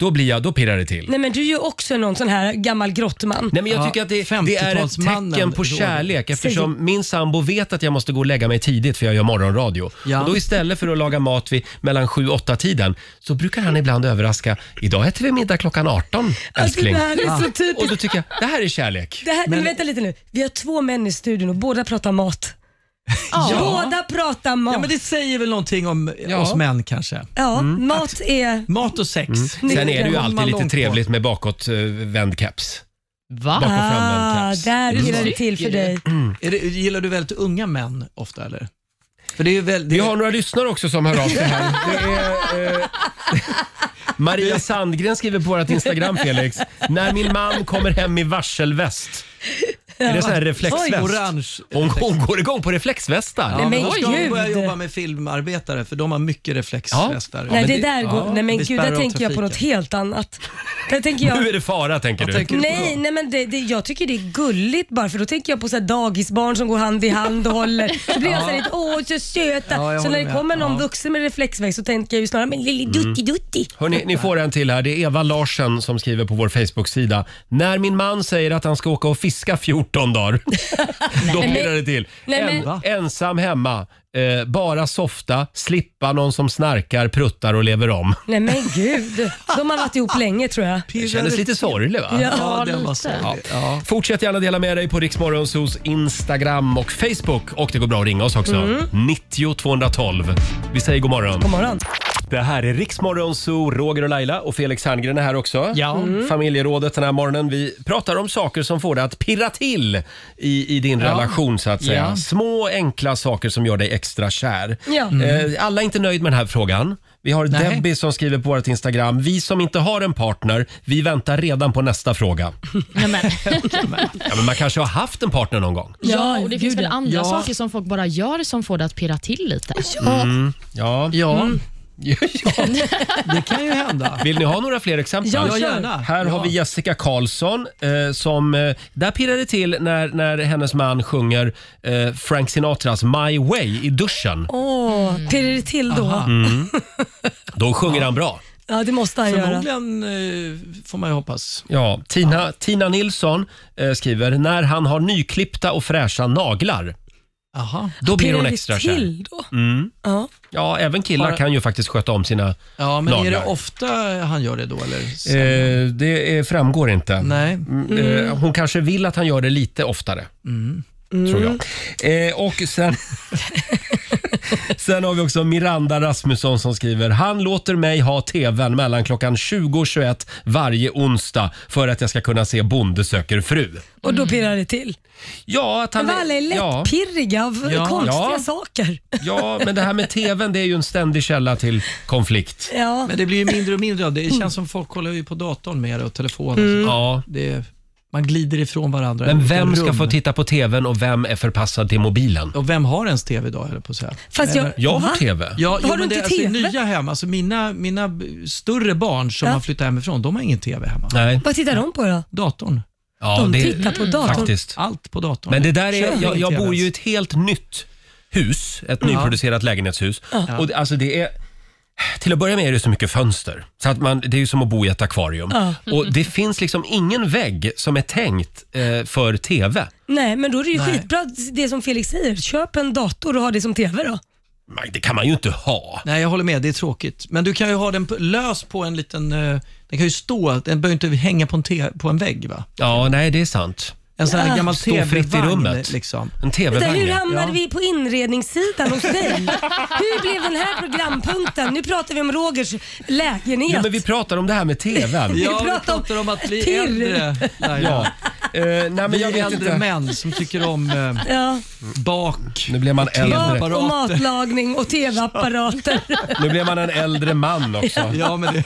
A: då blir jag, då pirrar det till.
B: Nej men du är ju också någon sån här gammal grottman.
A: Nej, men jag
G: Ja,
A: tycker att det, det är ett
G: 50-talsmannen
A: tecken på
G: Roger.
A: kärlek eftersom min sambo vet att jag måste gå och lägga mig tidigt för jag gör morgonradio.
G: Ja.
A: Och då istället för att laga mat vid mellan 7-8 tiden så brukar han ibland överraska. Idag äter vi middag klockan 18
B: Alltså, det
A: älskling.
B: här är så typiskt.
A: Och då tycker jag, det här är kärlek.
B: Det här, men,
G: Men-
B: vänta lite nu. Vi har två män i studion och båda pratar mat. [LAUGHS] Båda pratar mat.
G: Ja, men det säger väl någonting om
A: Ja.
G: oss män kanske.
B: Ja,
A: Mm.
B: mat är...
G: Mat och sex.
A: Sen är det ju
G: Kommer man
A: alltid lite
G: långt på.
A: trevligt med bakåtvänd keps.
C: Va?
A: Bak- och framvänd
B: Ah,
A: keps.
B: där
G: Mm.
B: pirrar det till för dig.
G: Är det, gillar du väldigt unga män ofta eller? För det är ju väl, det,
A: Vi har några lyssnare också som hör av sig här. Det är, eh, [LAUGHS] Maria Sandgren skriver på vårt Instagram, Felix. När min man kommer hem i varselväst. Är det sån här
G: Oj,
A: reflexväst?
G: orange.
A: Hon, hon går igång på reflexvästar.
G: Ja,
B: men
G: men då ska de
B: gud.
G: börja jobba med filmarbetare för de har mycket reflexvästar.
B: Nej,
G: Men
B: det där går...
G: ja,
B: nej men
G: det
B: gud, där
G: spärrar av
B: tänker jag på
G: trafiken.
B: något helt annat. Där tänker jag...
A: [LAUGHS] Nu är det fara, tänker du.
G: Vad tänker du på
B: Nej,
G: då?
B: nej men det, det, jag tycker det är gulligt bara för då tänker jag på så här dagisbarn som går hand i hand och håller. Så blir jag så här lite, åh så söta.
G: Ja, jag
B: så när
G: håller
B: det
G: med.
B: kommer någon
G: Ja.
B: vuxen med reflexväxt så tänker jag ju snarare, men lille dutti dutti.
A: Hörrni, ni får en till här. Det är Eva Larsen som skriver på vår Facebook-sida. När min man säger att han ska åka och fiska 14 dagar, [LAUGHS] då pirrar det till.
B: Nej, men-
A: en, ensam hemma, eh, bara softa, slippa någon som snarkar, pruttar och lever om.
B: Nej men gud. De har varit ihop länge tror jag.
A: Det kändes lite sorgligt va?
B: Ja.
G: Ja,
C: Ja,
G: den var
C: lite.
G: sorglig. Ja.
A: Fortsätt gärna dela med dig på Riksmorgonsos Instagram och Facebook. Och det går bra att ringa oss också.
B: Mm.
A: 90 212. Vi säger god morgon.
B: God morgon.
A: Det här är Riksmorgonso, Roger och Laila och Felix Herngren är här också.
G: Ja.
A: Mm. Familjerådet den här morgonen. Vi pratar om saker som får dig att pirra till i, i din
G: Ja.
A: relation så att säga.
G: Ja.
A: Små enkla saker som gör dig extra kär.
B: Ja.
A: Eh, Alla är inte nöjd med den här frågan. Vi har
G: Nej.
A: Debbie som skriver på vårt Instagram. Vi som inte har en partner, vi väntar redan på nästa fråga.
C: Nej, men.
A: Ja, men man kanske har haft en partner någon gång.
C: Ja, och det finns väl andra
G: Ja.
C: saker som folk bara gör som får det att pirra till lite.
A: Ja.
G: Ja,
A: [LAUGHS] ja.
G: det kan ju hända.
A: Vill ni ha några fler exempel?
B: Ja,
G: Ja, gärna.
A: Här
G: ja.
A: har vi Jessica Karlsson eh, som... Eh, där pirrar det till när, när hennes man sjunger eh, Frank Sinatras My Way i duschen.
B: Åh, Mm. pirrar det till då? Mm.
A: Då sjunger han bra.
B: Ja, det måste han göra.
G: Förmodligen eh, får man ju hoppas.
A: Ja, Tina, Tina Nilsson eh, skriver när han har nyklippta och fräscha naglar.
G: Aha.
A: Då blir
B: Pirrar
A: hon
B: det
A: extra kär.
B: till då? Ja.
A: Ja, även killar
G: Bara-
A: kan ju faktiskt sköta om sina...
G: Ja, men är
A: Naglar.
G: det ofta han gör det då eller?
A: Eh, det eh, framgår inte.
G: Nej.
A: Mm. Eh, hon kanske vill att han gör det lite oftare. Tror jag. Eh, och sen... [LAUGHS] sen har vi också Miranda Rasmusson som skriver Han låter mig ha tvn mellan klockan 20 och 21 varje onsdag för att jag ska kunna se Bonde söker fru.
B: Och då pirrar det till.
A: Ja, att han...
B: Men alla är
A: ja,
B: lättpirriga av
A: Ja.
B: konstiga
A: Ja.
B: saker.
A: ja, men det här med tvn det är ju en ständig källa till konflikt.
B: Ja.
G: Men det blir ju
A: [LAUGHS]
G: mindre och mindre av det. Det känns som folk kollar ju på datorn mer och telefonen.
B: Mm.
A: Ja.
G: Det, man glider ifrån varandra. i
A: Mm. Men
G: olika
A: vem ska
G: rum.
A: få titta på tvn och vem är förpassad till mobilen?
G: Och vem har ens tv idag, höll jag på att säga.
B: Fast jag,
A: Jag har
B: Va?
A: tv.
G: Ja,
B: Har du
G: jo, men
B: inte
G: det, alltså, i
B: TV?
G: nya hem, alltså mina, mina b- större barn som
B: Ja.
G: har flyttat hemifrån, de har ingen tv hemma.
A: Nej.
B: Vad tittar de på då?
G: Datorn.
A: Ja,
B: De
A: det-
B: tittar på datorn.
A: Faktiskt.
G: Allt på datorn.
A: Men det där är,
G: Köp
A: jag,
G: ingen
A: jag
G: TV
A: bor ju i
G: ens.
A: ett helt nytt hus, ett nyproducerat lägenhetshus. Och det, alltså det är, till att börja med är det så mycket fönster, så att man, det är ju som att bo i ett akvarium. Och det finns liksom ingen vägg som är tänkt eh, för TV.
B: Nej, men då är det ju
G: Nej.
B: skitbra det som Felix säger. Köp en dator och ha det som TV då.
A: Men Det kan man ju inte ha.
G: Nej, jag håller med. Det är tråkigt. Men du kan ju ha den på- lös på en liten... eh, Den kan ju stå. Den behöver inte hänga på en, te, på en vägg, va?
A: Ja, nej det är sant.
G: En sån här gammal
A: Stå fritt i
G: TV-vagn,
A: rummet.
G: Liksom.
A: En
B: Vänta, hur
A: TV-vagn.
B: hamnade
G: Ja.
B: vi på inredningssidan hos dig? hur blev den här programpunkten? Nu pratar vi om Rogers lägenhet.
A: Ja, men vi pratar om det här med
G: [LAUGHS]
A: TVn.
G: Ja, vi
B: pratar om
G: pratar om att bli
B: pirr.
G: äldre,
A: [LAUGHS] Ja.
G: Laila.
A: Eh, nej, men
G: Vi
A: jag vet
G: äldre
A: inte.
G: män som tycker om eh,
B: Ja,
G: bak.
A: Nu blir man äldre.
B: mat och
G: Apparater.
B: matlagning och TV-apparater.
A: Nu blir man en äldre man också.
G: Ja, men det,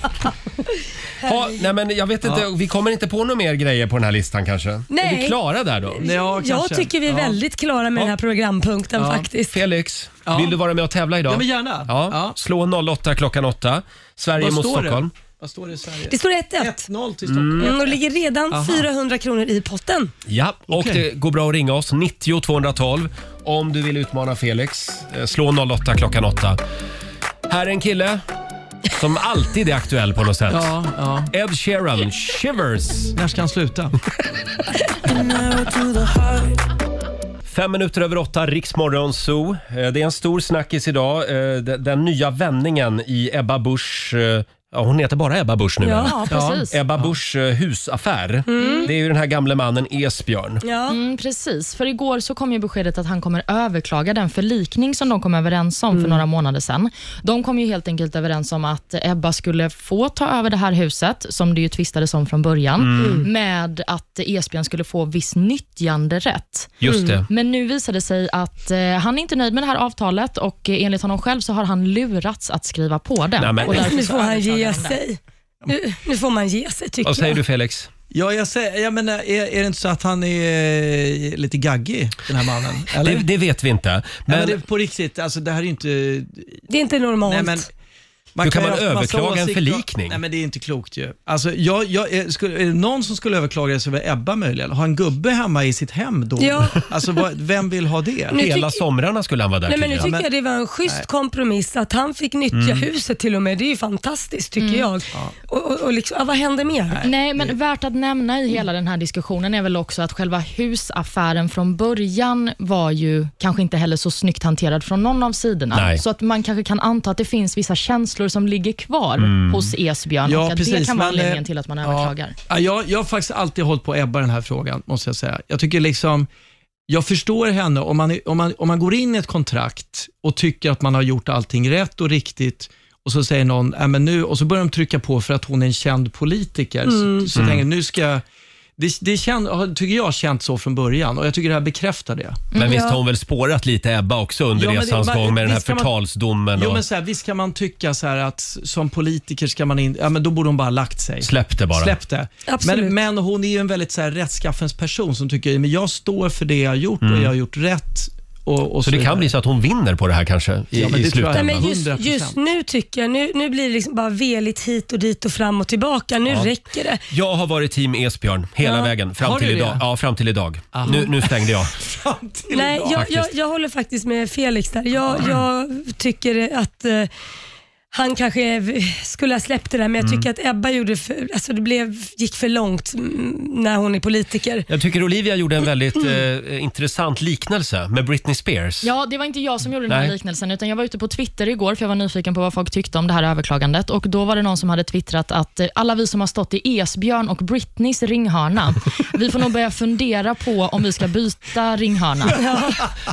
A: Ha, nej, men jag vet inte, Vi kommer inte på några mer grejer på den här listan kanske. Är
B: Nej.
A: vi klara där då?
G: ja,
B: Jag
G: kanske.
B: tycker vi är
G: Ja.
B: väldigt klara med den här programpunkten faktiskt.
A: Felix,
G: Ja.
A: vill du vara med och tävla idag?
G: Ja, men gärna.
A: Ja.
G: Ja.
A: Slå 08 klockan 8. Sverige
G: Vad
A: mot
G: står
A: Stockholm.
G: det? Vad står det i Sverige?
B: Det står 1-1.
G: 1-0 till Stockholm.
B: Mm, och ligger redan 400 kronor i potten.
A: Ja, och
G: Okej.
A: det går bra att ringa oss. 90 212 om du vill utmana Felix. Eh, Slå 08 klockan 8. Här är en kille Som alltid är aktuell på något sätt.
G: Ja, ja.
A: Ed Sheeran, Shivers.
G: När ska han sluta?
A: Fem minuter över åtta, Riksmorgon Zoo. Eh, Det är en stor snackis idag. Eh, de- Den nya vändningen i Ebba Busch... eh, Ja, hon heter bara Ebba Busch nu. va?
C: Ja, Mm. precis.
A: Ebba Buschs eh, husaffär. Det är ju den här gamle mannen Esbjörn.
B: Ja.
C: Mm, precis, för igår så kom ju beskedet att han kommer överklaga den förlikning som de kom överens om
B: Mm.
C: för några månader sedan. De kom ju helt enkelt överens om att Ebba skulle få ta över det här huset, som det ju tvistades om från början,
B: Mm.
C: med att Esbjörn skulle få viss nyttjanderätt.
A: Just det.
C: Men nu visar det sig att eh, han är inte nöjd med det här avtalet och eh, enligt honom själv så har han lurats att skriva på det.
A: Nej, men-
C: och därför
B: [LAUGHS] Nu
C: så
B: får han
C: överklagar
B: ge
C: han det.
B: sig. Nu, nu får man ge sig tycker
A: Vad säger
B: jag.
A: du Felix?
G: Ja, jag, säger, jag menar, är, är det inte så att han är eh, lite gaggig, den här mannen? Eller?
A: Det, det vet vi inte.
G: men,
A: Men
G: men det, på riktigt, alltså, det här är ju inte...
B: Det är inte normalt.
G: Nej, men, man
A: Hur kan
G: ju
A: man
G: ha massa
A: överklaga en
G: åsikter och-
A: förlikning?
G: Nej, men det är inte klokt ju. Alltså, jag, jag, är- skulle, är det någon som skulle överklaga så var det Ebba möjligen. Ha en gubbe hemma i sitt hem då?
B: Ja.
G: Alltså, vad, vem vill ha det?
B: Nu
A: hela
B: tyck-
A: somrarna skulle han vara där
B: Nej, men nu
A: tydligen.
B: tycker jag det var en schysst kompromiss att han fick nyttja huset till och med. Det är ju fantastiskt tycker
C: Mm.
B: jag. Och, och, och liksom, ja, vad händer mer?
C: Nej, men värt att nämna i hela den här diskussionen är väl också att själva husaffären från början var ju kanske inte heller så snyggt hanterad från någon av sidorna.
A: Nej.
C: Så att man kanske kan anta att det finns vissa känslor som ligger kvar hos Esbjörn och att det kan vara
G: men, eh,
C: anledningen till att man
G: ja.
C: överklagar.
G: Ja, jag, jag har faktiskt alltid hållit på Ebba i den här frågan, måste jag säga. Jag tycker liksom, jag förstår henne om man, är- om, man, om man går in i ett kontrakt och tycker att man har gjort allting rätt och riktigt och så säger någon, "Nej, men nu, och så börjar de trycka på för att hon är en känd politiker. Så, så tänker jag, nu ska jag- det, det känd, har- tycker jag har känt så från början och jag tycker det här bekräftar det.
A: Men visst har hon väl spårat lite Ebba också under
G: Mm, Ja, men det-
A: resans
G: man-
A: gång med den här
G: visst kan man-
A: förtalsdomen
G: Jo,
A: och
G: men så här, visst kan man tycka så här att som politiker ska man in, ja, men då borde hon bara ha lagt sig.
A: släppt det bara.
G: Släpp det.
B: Absolut.
G: Men, men hon är ju en väldigt så här, rättskaffens person som tycker men jag står för det jag har gjort och jag har gjort rätt. Och, och
A: Mm. Så det kan
G: vidare.
A: bli så att hon vinner på det här kanske i,
G: Ja, men
A: i
G: det tror jag.
A: slutändan.
B: Nej, men just,
G: 100%.
B: just nu tycker jag, nu, nu blir det liksom bara veligt hit och dit och fram och tillbaka. Nu räcker det.
A: Jag har varit team Esbjörn hela vägen fram
G: Har du
A: till
G: det?
A: idag. Ja, fram till idag. Nu, nu stängde jag.
G: fram till
B: Nej,
G: idag.
B: jag, jag, jag håller faktiskt med Felix där. Jag, jag tycker att eh, han kanske v- skulle ha släppt det där, men jag tycker att Ebba gjorde för, alltså det blev, gick för långt mm, när hon är politiker.
A: Jag tycker Olivia gjorde en väldigt
G: Mm.
A: eh, intressant liknelse med Britney Spears.
C: Ja, det var inte jag som gjorde den här
A: Nej.
C: liknelsen, utan jag var ute på Twitter igår, för jag var nyfiken på vad folk tyckte om det här överklagandet. Och Då var det någon som hade twittrat att eh, alla vi som har stått i Esbjörn och Britneys ringhörna, vi får nog börja fundera på om vi ska byta ringhörna.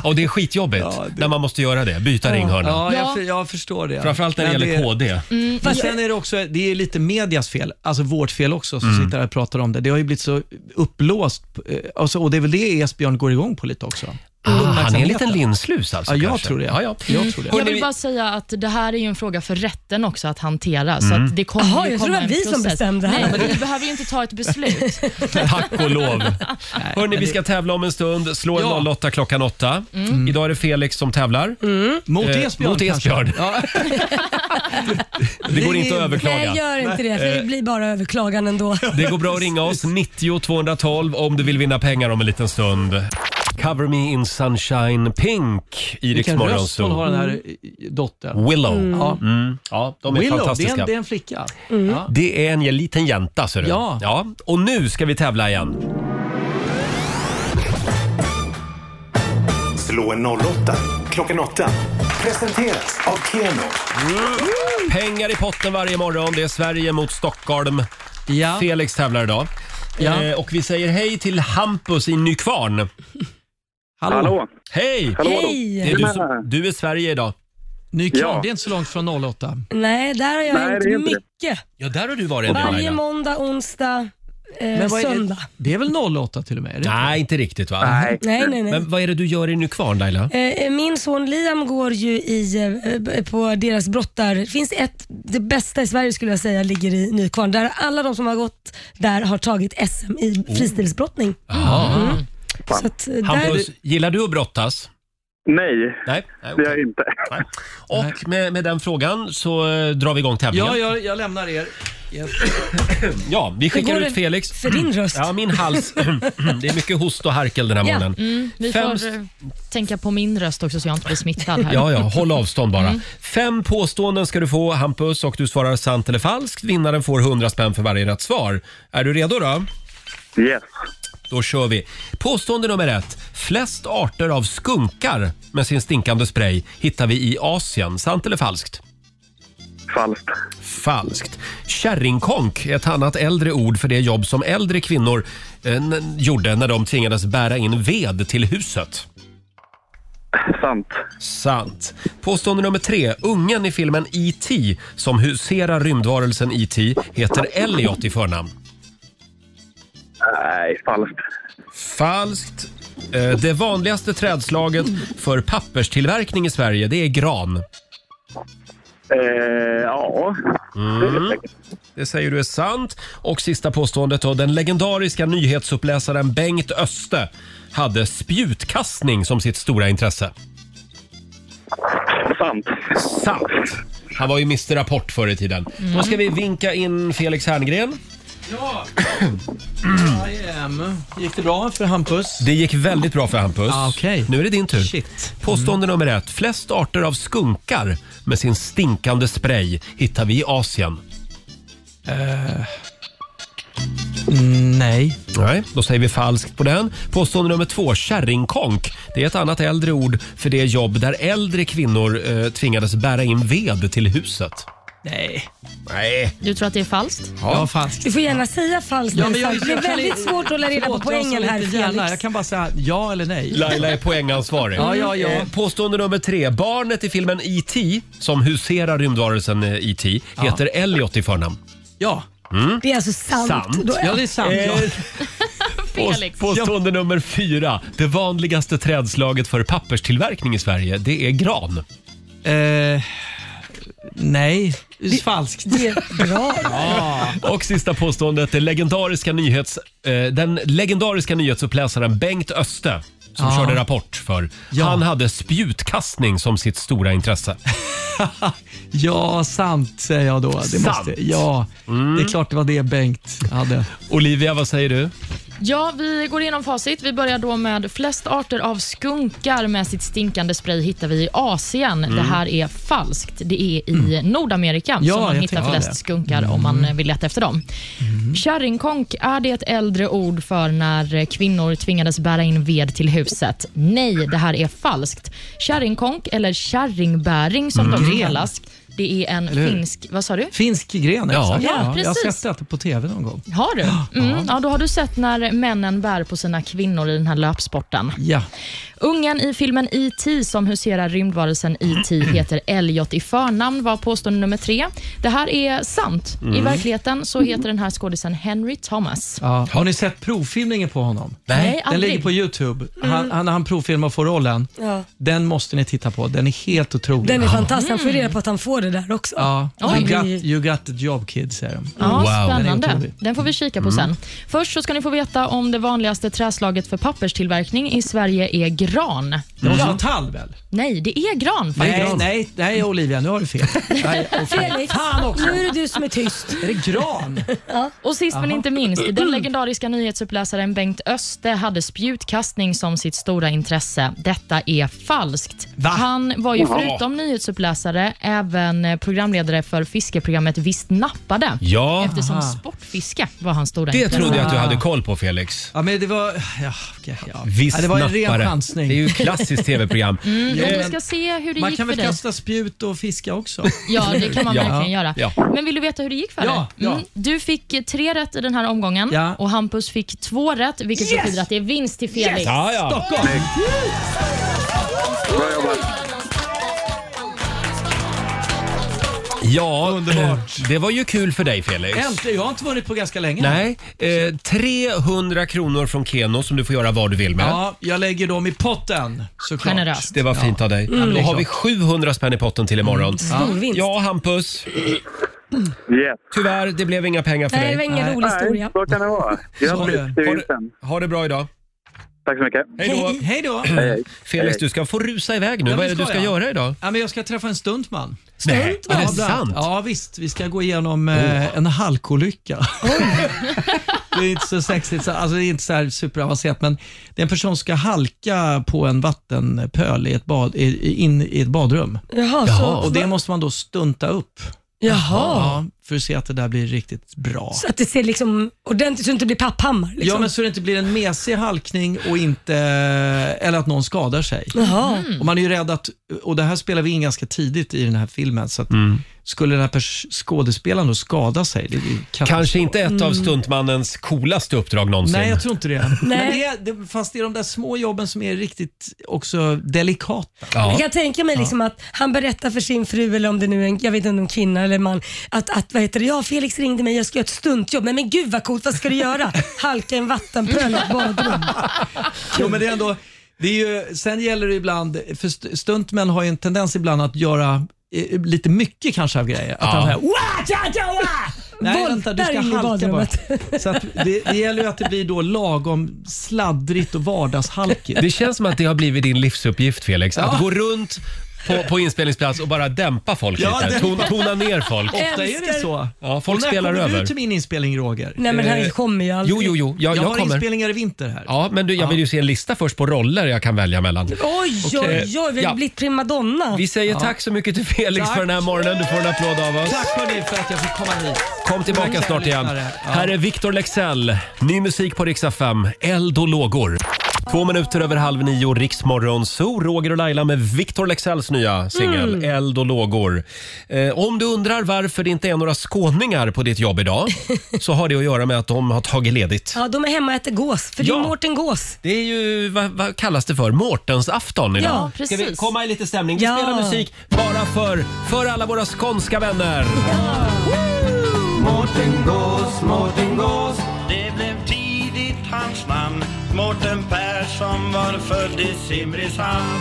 A: Och det är skitjobbigt när man måste göra det, byta ringhörna.
G: Ja, jag,
C: Ja.
G: för- jag förstår det. Mm.
A: Framförallt när det
G: Men
A: gäller
G: är-
A: KD.
G: Men sen är det också, det är lite medias fel, alltså vårt fel också, som
A: Mm.
G: sitter här och pratar om det. Det har ju blivit så uppblåst eh, alltså, och det är väl det Esbjörn går igång på lite också.
A: Ah, han är en liten linslus alltså
G: Ja, jag
A: kanske.
G: tror det. Mm.
A: Ja, ja.
G: Jag tror det.
C: Jag
A: Hörrni, vi-
C: vill bara säga att det här är ju en fråga för rätten också att hantera. Så
A: Mm.
C: att det kommer
B: Jaha,
C: ju
B: jag tror
C: komma
B: det var vi
C: en
B: som
C: process.
B: bestämde här.
C: Nej, vi behöver ju inte ta ett beslut.
A: [LAUGHS] Tack och
G: [LAUGHS]
A: lov. Hörni, vi ska tävla om en stund. Slå en
G: Ja. Mm.
A: 08 klockan 8. Idag är det Felix som tävlar.
G: Mot
A: Eh,
G: Esbjörn
A: mot
G: kanske?
A: Esbjörn.
G: Ja.
A: [LAUGHS] Det går
G: Ring
A: inte att
G: in.
A: överklaga.
B: Nej, gör inte det, för det blir bara överklagan ändå.
A: Det går bra att ringa oss, 90 212 om du vill vinna pengar om en liten stund. Cover me in sunshine pink i Rix
G: Vilken
A: Morgon
G: röst hon har
A: Zoo.
G: den här eh, dottern.
A: Willow.
G: Ja.
A: Mm. Ja, de är
G: Willow, det är,
A: fantastiska.
G: en, det är en flicka. Ja.
A: Det är en liten jänta ser du.
G: Ja.
A: ja. Och nu ska vi tävla igen.
D: Slå en 08 klockan 8. Presenteras av Keno.
A: Mm. Pengar i potten varje morgon. Det är Sverige mot Stockholm.
G: Ja.
A: Felix tävlar idag.
G: Ja.
A: Eh, och vi säger hej till Hampus i Nykvarn.
G: Hallå.
E: Hallå?
A: Hej! Det
B: Hej!
A: är du, som, du är Sverige idag.
G: Nykvarn,
E: Ja.
G: det är inte så långt från 08.
B: Nej, där har jag
E: Nej, det är
B: hänt
E: inte det.
B: mycket.
A: Ja, där har du varit en del
B: Varje
A: Laila.
B: måndag, onsdag, eh,
G: vad är det,
B: söndag.
G: det är väl 08 till och med? Är det?
A: Nej, inte riktigt va? Mm.
E: Nej.
B: Nej, nej, nej.
A: Men vad är det du gör i Nykvarn Laila?
B: Eh, Min son Liam går ju i, eh, b- på deras brottar. Det finns ett, det bästa i Sverige skulle jag säga ligger i Nykvarn. Där alla de som har gått där har tagit SM i
G: Oh.
B: fristilsbrottning.
G: Ah.
B: Mm.
A: Jaha.
B: Så att eh, där,
A: Hampus, gillar du att brottas?
E: Nej,
A: Nej. Nej,
E: det
A: okej.
E: gör jag inte.
A: Nej. Och med, med den frågan så eh, drar vi igång tävlingen.
G: Ja, jag, jag lämnar er.
A: Ja, vi skickar
B: går
A: ut
B: det
A: Felix.
B: för din röst?
A: Ja, min hals. [CLEARS THROAT] det är mycket host och harkel den här
B: Ja.
A: morgonen.
C: Mm, vi
A: Fem-
C: får eh, tänka på min röst också så jag inte blir smittad här.
A: Ja, ja, håll avstånd bara. Fem påståenden ska du få, Hampus, och du svarar sant eller falskt. Vinnaren får 100 spänn för varje rätt svar. Är du redo då?
F: Yes.
A: Då kör vi. Påstående nummer ett. Flest arter av skunkar med sin stinkande spray hittar vi i Asien. Sant eller falskt?
F: Falskt.
A: Falskt. Kärringkonk är ett annat äldre ord för det jobb som äldre kvinnor eh, n- gjorde när de tvingades bära in ved till huset.
F: Sant.
A: Sant. Påstående nummer tre. Ungen i filmen E.T. som huserar rymdvarelsen E.T. heter Elliot i förnamn.
F: Nej, falskt.
A: Falskt. Eh, Det vanligaste trädslaget för papperstillverkning i Sverige det är gran.
F: Eh, ja.
A: Mm. Det säger du är sant. Och sista påståendet då. Den legendariska nyhetsuppläsaren Bengt Öste hade spjutkastning som sitt stora intresse.
F: Sant.
A: Sant. Han var ju Mr Rapport förr i tiden.
G: Mm.
A: Då ska vi vinka in Felix Herngren.
G: Ja! I am. Gick det bra för Hampus?
A: Det gick väldigt bra för Hampus.
G: Ah, okej.
A: Nu är det din tur.
G: Shit.
A: Påstående nummer ett. Flest arter av skunkar med sin stinkande spray hittar vi i Asien.
G: Mm, nej.
A: Nej, då säger vi falskt på den. Påstående nummer två, kärringkonk. Det är ett annat äldre ord för det jobb där äldre kvinnor eh, tvingades bära in ved till huset.
G: Nej.
A: Nej.
C: Du tror att det är falskt?
G: Ja, ja falskt.
B: Du får gärna säga falskt
G: Ja,
B: men
G: men jag-
B: sant. Det är
G: jag kan
B: väldigt
G: li-
B: svårt att lära reda på
G: Förlåt, jag har så
B: poängen här
G: lite
B: Felix.
G: hjärna. Jag kan bara säga ja eller nej.
A: Laila är poängansvarig.
G: Ja, ja, ja.
A: Eh, Påstående nummer tre. Barnet i filmen E.T. som huserar rymdvarelsen eh, E.T. heter Elliot i förnamn.
G: Ja,
B: Det är alltså sant.
A: Sant.
B: Då
G: ja det är sant. Ja. [LAUGHS]
A: Eh,
C: Felix.
A: Påstående nummer fyra. Det vanligaste trädslaget för papperstillverkning i Sverige, det är gran.
G: Eh, nej, falskt.
B: Det är bra.
A: Och sista påståendet, det legendariska nyhets, eh, den legendariska nyhetsuppläsaren Bengt Öste som
G: Ja.
A: körde Rapport för.
G: Ja.
A: Han hade spjutkastning som sitt stora intresse.
G: Ja, sant säger jag då. Det
A: Sant.
G: Måste, ja, det är klart det var det Bengt hade.
A: Olivia, vad säger du?
C: Ja, vi går igenom facit. Vi börjar då med flest arter av skunkar med sitt stinkande spray hittar vi i Asien. Det här är falskt. Det är i Nordamerika
G: Mm. Ja,
C: som man
G: jag
C: hittar
G: tänkte
C: flest
G: det. Mm.
C: skunkar om man eh, vill leta efter dem. Kärringkonk, är det ett äldre ord för när eh, kvinnor tvingades bära in ved till huset? Nej, det här är falskt. Kärringkonk, eller kärringbäring som de kallas, det är en
G: Mm. hur?
C: finsk... Vad sa du?
G: Finsk gren
A: Ja.
G: exakt.
C: Ja,
G: jag har
C: precis.
G: sett det på tv någon gång. [GASPS]
C: Har du? Mm, ja, då har du sett när männen bär på sina kvinnor i den här löpsporten.
G: Ja,
C: Ungen i filmen E.T. som huserar rymdvarelsen E.T.
G: [CLEARS THROAT]
C: heter Elliot i förnamn var påstående nummer tre. Det här är sant. I verkligheten så heter den här skådisen Henry Thomas.
G: Mm. ja. Har ni sett provfilmningen på honom?
C: Nej,
G: Den ligger
C: aldrig. Mm.
G: på Youtube. Han, han, han provfilmar och får rollen.
B: Ja.
G: Den måste ni titta på. Den är helt otrolig.
B: Den är fantastisk. Han får ju reda på att han får det där också.
G: ja.
C: Oj.
G: you, got, you got the job kid, säger de.
C: Ja,
A: Wow.
C: spännande.
G: Den är
C: Den,
G: otrolig.
C: får vi kika på
G: Mm.
C: sen. Först så ska ni få veta om det vanligaste träslaget för papperstillverkning i Sverige är gran.
G: Det måste vara tall väl?
C: Nej, det är gran faktiskt.
G: Nej, nej, nej Olivia, nu har du fel. Nej, okay.
B: Felix,
G: Fan också!
B: nu är det du som är tyst.
G: Är det gran?
C: Och sist men inte minst, den
G: [CLEARS THROAT]
C: legendariska nyhetsuppläsaren Bengt Öste hade spjutkastning som sitt stora intresse. Detta är falskt.
G: Va?
C: Han var ju förutom nyhetsuppläsare även eh, programledare för fiskeprogrammet Visst nappade.
A: Ja,
C: Eftersom sportfiske var hans stora
A: det
C: intresse.
A: trodde
G: Ah.
A: jag att du hade koll på Felix.
G: Ja, men det var... Ja, okej, ja.
A: Visst
G: ja, det var en
A: nappare.
G: ren chansning. Mm.
A: Det är ju klassiskt
G: [LAUGHS]
A: tv-program.
C: Och vi ska se hur det
G: Eh, Man
C: gick
G: kan
C: för
G: väl
C: dig.
G: kasta spjut och fiska också?
C: Ja, det kan man
A: Ja.
C: verkligen göra.
A: Ja.
C: Men vill du veta hur det gick för
G: Ja,
C: dig?
G: ja.
C: Du fick eh, tre rätt i den här omgången
G: Ja.
C: och Hampus fick två rätt, vilket betyder att det är vinst till Felix.
A: Ja, ja.
G: Stockholm!
A: ja
G: Underbart.
A: eh, det var ju kul för dig Felix.
G: Äntligen! Jag har inte vunnit på ganska länge.
A: Nej, eh, 300 kronor från Keno som du får göra vad du vill med.
G: Ja, jag lägger dem i potten såklart.
C: Generöst.
A: Det var fint av
G: Mm.
A: dig. Då har vi 700 spänn i potten till imorgon.
B: Stor vinst.
A: Ja, Hampus.
F: Yes.
A: Tyvärr, det blev inga pengar för
B: Nej, det var
A: dig.
B: ingen
G: Nej.
B: rolig historia.
F: så kan det vara.
G: Så är det.
F: Grattis till
A: Ha
F: vinsten.
A: det, ha det bra idag.
J: Tack så mycket.
A: Hej då.
G: Hej då.
A: Felix, du ska få rusa iväg nu.
G: Ja,
A: Vad
G: det
A: är det du
G: ska
A: ska
G: jag.
A: göra idag?
G: Ja, men jag ska träffa en stuntman.
A: Nej, är det
G: Ja, bland-
A: sant? Oh.
G: Ja, visst. Vi ska gå igenom eh, en halkolycka. [LAUGHS] det är inte så sexigt, så, alltså det är inte så här superavancerat, men det är en person som ska halka på en vattenpöl i ett bad, i, i- in i ett badrum.
B: Jaha, så-
G: och det måste man då stunta upp.
B: Jaha.
G: Ja, för att se att det där blir riktigt bra.
B: Så att det ser liksom ordentligt, så det inte blir papphammar. Liksom.
G: Ja, men så det inte blir en mesig halkning och inte, eller att någon skadar sig.
B: Jaha. Mm.
G: Och man är ju rädd att, och det här spelar vi in ganska tidigt i den här filmen, så att
A: Mm.
G: skulle den här pers- skådespelaren då skada sig? Det är ju katastrof.
A: Kanske inte ett av stuntmannens coolaste uppdrag någonsin.
G: Mm. Nej, jag tror
A: [LAUGHS]
G: inte det.
B: Nej.
G: Men det, är, det. Fast det är de där små jobben som är riktigt också delikata.
A: Ja.
B: Jag kan tänka mig liksom att han berättar för sin fru, eller om det nu är en, jag vet inte om det är en kvinna eller en man, att, att vad heter det, ja Felix ringde mig, jag ska göra ett stuntjobb. Nej men gud vad coolt, vad ska
A: [LAUGHS]
B: du göra? Halka i en vattenpöl i ett badrum.
G: Jo, men det är ändå, det är ju, sen gäller det ibland, för st- stuntmän har ju en tendens ibland att göra eh, lite mycket kanske av grejer. Att
A: Ja.
G: han så här,
B: Wah, tja, tja, wah! [LAUGHS]
G: Nej,
B: Voltar
G: vänta, du ska
B: in i
G: halka bara.
B: badrummet.
G: Så att det, det gäller ju att det blir då lagom sladdrigt och vardagshalkigt.
A: Det känns som att det har blivit din livsuppgift Felix. Att
G: Ja.
A: gå runt på, på inspelningsplats och bara dämpa folk
G: Ja,
A: lite.
G: det-
A: Ton, tona ner
G: [LAUGHS]
A: folk.
G: Ofta är det så.
A: Ja, folk
G: Och när
A: spelar
G: kommer
A: över.
G: du till min inspelning Roger?
B: Nej men
A: Eh,
B: han kommer ju aldrig.
A: Jo, jo, jo. Jag,
G: jag,
A: jag
G: har
A: kommer.
G: inspelningar i vinter här.
A: Ja, men du, jag vill ju se en lista först på roller jag kan välja mellan.
B: Oj,
A: Okej.
B: oj, oj, vi har
A: Ja.
B: blivit primadonna.
A: Vi säger tack så mycket till Felix
G: Tack.
A: för den här morgonen. Du får en applåd av oss.
G: Tack hörni för att jag fick komma hit.
A: Kom tillbaka
G: Tack,
A: snart
G: kära
A: igen.
G: lyssnare. Ja.
A: Här är Victor Lexell. Ny musik på riksdag 5. Eld och lågor. Två minuter över halv nio, Riksmorgon Zoo. Roger och Laila med Victor Lexells nya singel Eld och lågor. Eh, om du undrar varför det inte är några skåningar på ditt jobb idag så har det att göra med att de har tagit ledigt.
B: Ja, de är hemma och äter gås, för det
A: Ja.
B: är Mårten Gås.
A: Det är ju, vad, vad kallas det för? Mårtensafton idag.
C: Ja, precis.
A: Ska vi komma i lite stämning? Vi
B: Ja.
A: spelar musik bara för, för alla våra skånska vänner.
F: Mårten Gås, Mårten Gås Det blev tidigt hans namn Mårten Persson var född i Simrishamn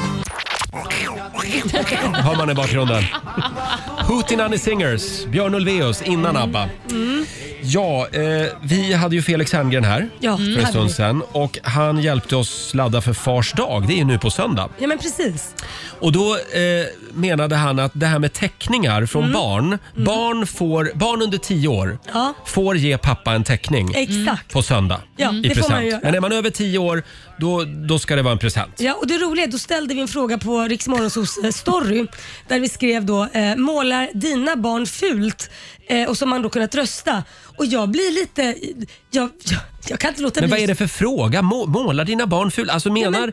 A: Hör man i bakgrunden. Hootenanny Singers, Björn Ulvaeus innan
B: Mm.
A: ABBA. Ja, eh, vi hade ju Felix Herngren här
B: Ja,
A: för en
B: hade
A: stund
B: vi.
A: sedan och han hjälpte oss ladda för Fars dag. Det är ju nu på söndag.
B: Ja men precis.
A: Och då eh, menade han att det här med teckningar från barn. Barn, får, barn under 10 år
B: Mm. Ja.
A: får ge pappa en teckning
B: Exakt.
A: på söndag
B: Ja,
A: i
B: det får
A: present.
B: man ju göra.
A: Men är man över 10 år då, då ska det vara en present.
B: Ja, och det roliga är då ställde vi en fråga på Riksmorgonsos story där vi skrev då eh, “Målar dina barn fult?” eh, och som man då kunnat rösta. Och jag blir lite... Jag, jag, jag kan inte låta
A: Men
B: bli.
A: vad är det för fråga? Må- Målar dina barn fula? Alltså menar,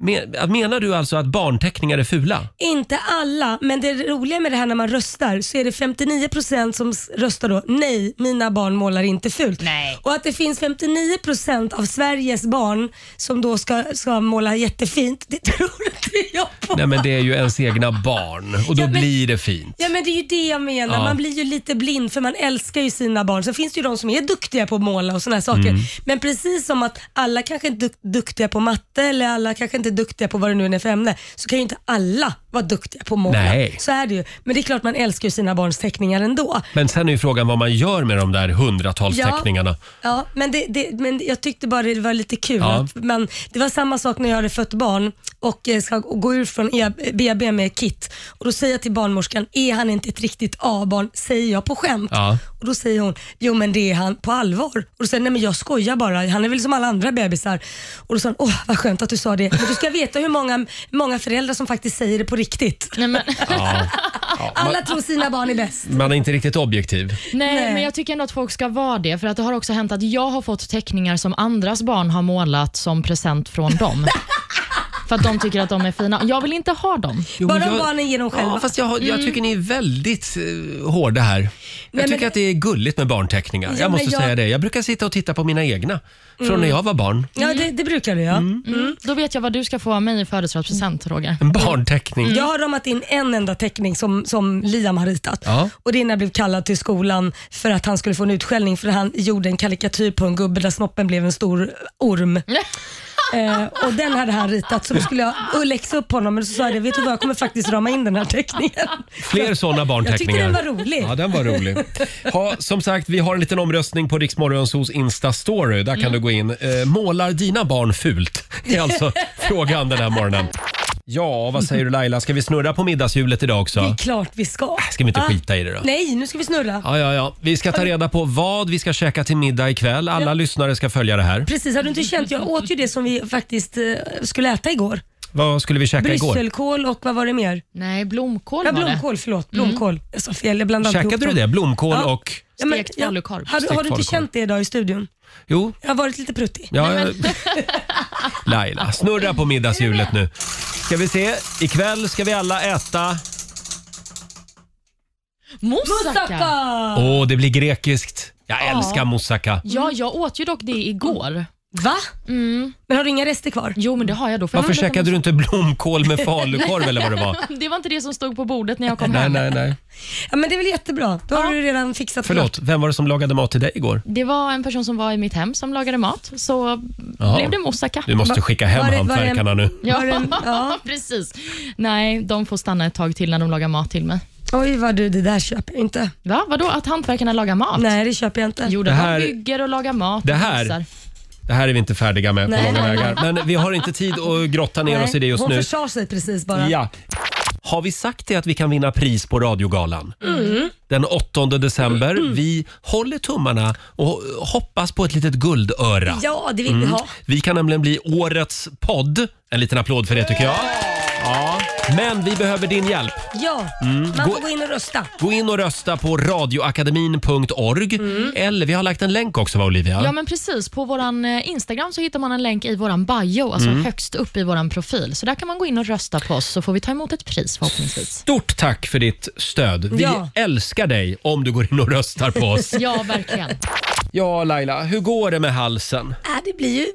A: men, menar du alltså att barnteckningar är fula?
B: Inte alla, men det roliga med det här när man röstar så är det 59% som s- röstar då “Nej, mina barn målar inte fult”.
C: Nej.
B: Och att det finns 59% av Sveriges barn som då ska, ska måla jättefint, det [LAUGHS] tror inte jag på.
A: Nej men det är ju ens egna barn och då
B: Ja, men-
A: blir det fint.
B: Ja men det är ju det jag menar.
A: Ja.
B: Man blir ju lite blind för man älskar ju sina barn. Sen finns det ju de som är duktiga på att måla och såna här saker.
A: Mm.
B: Men precis som att alla kanske inte är duk- duktiga på matte eller alla kanske inte är duktiga på vad det nu än är för ämne, så kan ju inte alla vara duktiga på att måla.
A: Nej.
B: Så är det ju. Men det är klart man älskar ju sina barns teckningar ändå.
A: Men sen är ju frågan vad man gör med de där hundratals
B: Ja.
A: teckningarna.
B: Ja, men, det, det, men jag tyckte bara det var lite kul.
A: Ja.
B: Att, men det var samma sak när jag hade fött barn och eh, ska gå ur från E- BB med Kit. Och Då säger jag till barnmorskan, är han inte ett riktigt A-barn? Säger jag på skämt.
A: Ja.
B: Och Då säger hon, jo men det är han på allvar. Och Då säger jag, nej men jag skojar bara, han är väl som alla andra bebisar. Och Då sa hon, åh vad skönt att du sa det. Men du ska veta hur många, många föräldrar som faktiskt säger det på riktigt.
C: Nej, men,
B: Alla tror sina barn är bäst.
A: Man är inte riktigt objektiv.
C: nej,
B: Nej.
C: men jag tycker ändå att folk ska vara det. För att Det har också hänt att jag har fått teckningar som andras barn har målat som present från [LAUGHS] dem. för att de tycker att de är fina. Jag vill inte ha dem.
B: Bara om barnen ger dem själva. Mm.
A: Ja, fast jag, har- jag tycker ni är väldigt eh, hårda här. Jag
B: men-
A: tycker att det är gulligt med barnteckningar.
B: Ja,
A: jag måste
B: men jag- Mm.
A: säga det. Jag brukar sitta och titta på mina egna från när jag var barn.
B: Ja, det, det brukar du ja.
C: Då vet jag vad du ska få av mig i födelsedagspresent, Roger.
A: En barnteckning.
B: Jag har ramat in en enda teckning som, som Liam har ritat.
A: Ja.
B: Och Det är när jag blev kallad till skolan för att han
A: [LAUGHS]
B: skulle få en utskällning för han gjorde en karikatyr på en gubbe där snoppen blev en stor orm. Eh, och den hade han ritat, så då skulle jag och läxa upp honom. Men så sa jag det, vet du vad, jag kommer faktiskt rama in den här teckningen.
A: Fler sådana barnteckningar.
B: Jag tyckte den var rolig.
A: Ja, den var rolig. Ha, som sagt, vi har en liten omröstning på Riksmorgonsos Insta-story. Där kan du gå in. Eh, målar dina barn fult? Det är alltså frågan den här morgonen. Ja, vad säger du Laila? Ska vi snurra på middagshjulet idag
B: Det
A: också?
B: är klart vi ska.
A: Äh, Ska vi inte skita i det då?
B: Nej, nu ska vi snurra.
A: Ja, ja, ja. Vi ska ta reda på vad vi ska käka till middag ikväll. Alla lyssnare ska följa det här.
B: Precis, har du inte känt? Jag åt ju det som vi faktiskt eh, skulle äta igår.
A: Vad skulle vi käka igår?
B: Brysselkål och vad var det mer?
C: Nej, blomkål
B: Ja,
C: var det.
B: blomkål, förlåt. Blomkål. Jag sa fel, jag blandade alltid
A: Käkade du
B: ihop
A: det?
B: dem.
A: Blomkål
B: Ja.
A: och...
B: Ja, men-
C: Stekt falukorv.
B: Har, du- har du inte
A: Stekt falukorv.
B: känt det idag i studion?
A: Jo,
B: Jag har varit lite pruttig.
A: Ja, jag- [LAUGHS] Laila, snurra på middagshjulet nu. Ska vi se, ikväll ska vi alla äta.
C: Moussaka!
A: Åh, det blir grekiskt. Jag älskar moussaka.
C: Ja, jag åt ju dock det igår.
B: Va?
C: Mm.
B: Men har du inga rester kvar?
C: Jo, men det har jag då. För jag
A: Varför
C: vet inte om-
A: käkade du inte blomkål med
B: [LAUGHS]
A: falukorv eller vad det var?
C: Det var inte det som stod på bordet när jag kom
A: Nej,
C: hem.
A: nej, nej.
B: Ja, men det är väl jättebra. Då har du redan fixat
A: Förlåt, vem var det som lagade mat till dig igår?
C: Det var en person som var i mitt hem som lagade mat, så
A: Jaha.
C: blev det moussaka.
A: Du måste skicka hem
B: var det- var det-
A: hantverkarna nu.
C: Ja,
B: Var det- ja.
C: [LAUGHS] precis. Nej, de får stanna ett tag till när de lagar mat till mig.
B: Oj, vad du, det där köper jag inte.
C: Va? Vadå, att hantverkarna lagar mat?
B: Nej, det köper jag inte.
C: Jo, de
A: Det här-
C: bygger och lagar mat.
A: Det
C: och
A: här-
C: mixar.
A: Det här är vi inte färdiga med på
B: Nej,
A: långa
B: nej,
A: vägar. Men vi har inte tid att grotta ner oss i det
B: Nej,
A: just
B: Hon
A: nu.
B: försade sig precis bara.
A: Ja. Har vi sagt det att vi kan vinna pris på radiogalan? Den 8 december. Vi håller tummarna och hoppas på ett litet guldöra.
B: Ja, det vill
A: Mm.
B: vi ha.
A: Vi kan nämligen bli årets podd. En liten applåd för det tycker jag. Ja. Men vi behöver din hjälp.
B: Ja, man
A: Mm. Gå-
B: får gå in och rösta.
A: Gå in och rösta på radioakademin.org. Eller vi har lagt en länk också va Olivia?
C: Ja men precis, på våran eh, Instagram så hittar man en länk i våran bio, alltså
A: Mm.
C: högst upp i våran profil. Så där kan man gå in och rösta på oss så får vi ta emot ett pris förhoppningsvis.
A: Stort tack för ditt stöd. Vi
B: Ja.
A: älskar dig om du går in och röstar på
C: [LAUGHS]
A: oss.
C: Ja, verkligen.
A: ja Laila, hur går det med halsen?
B: Äh, det blir ju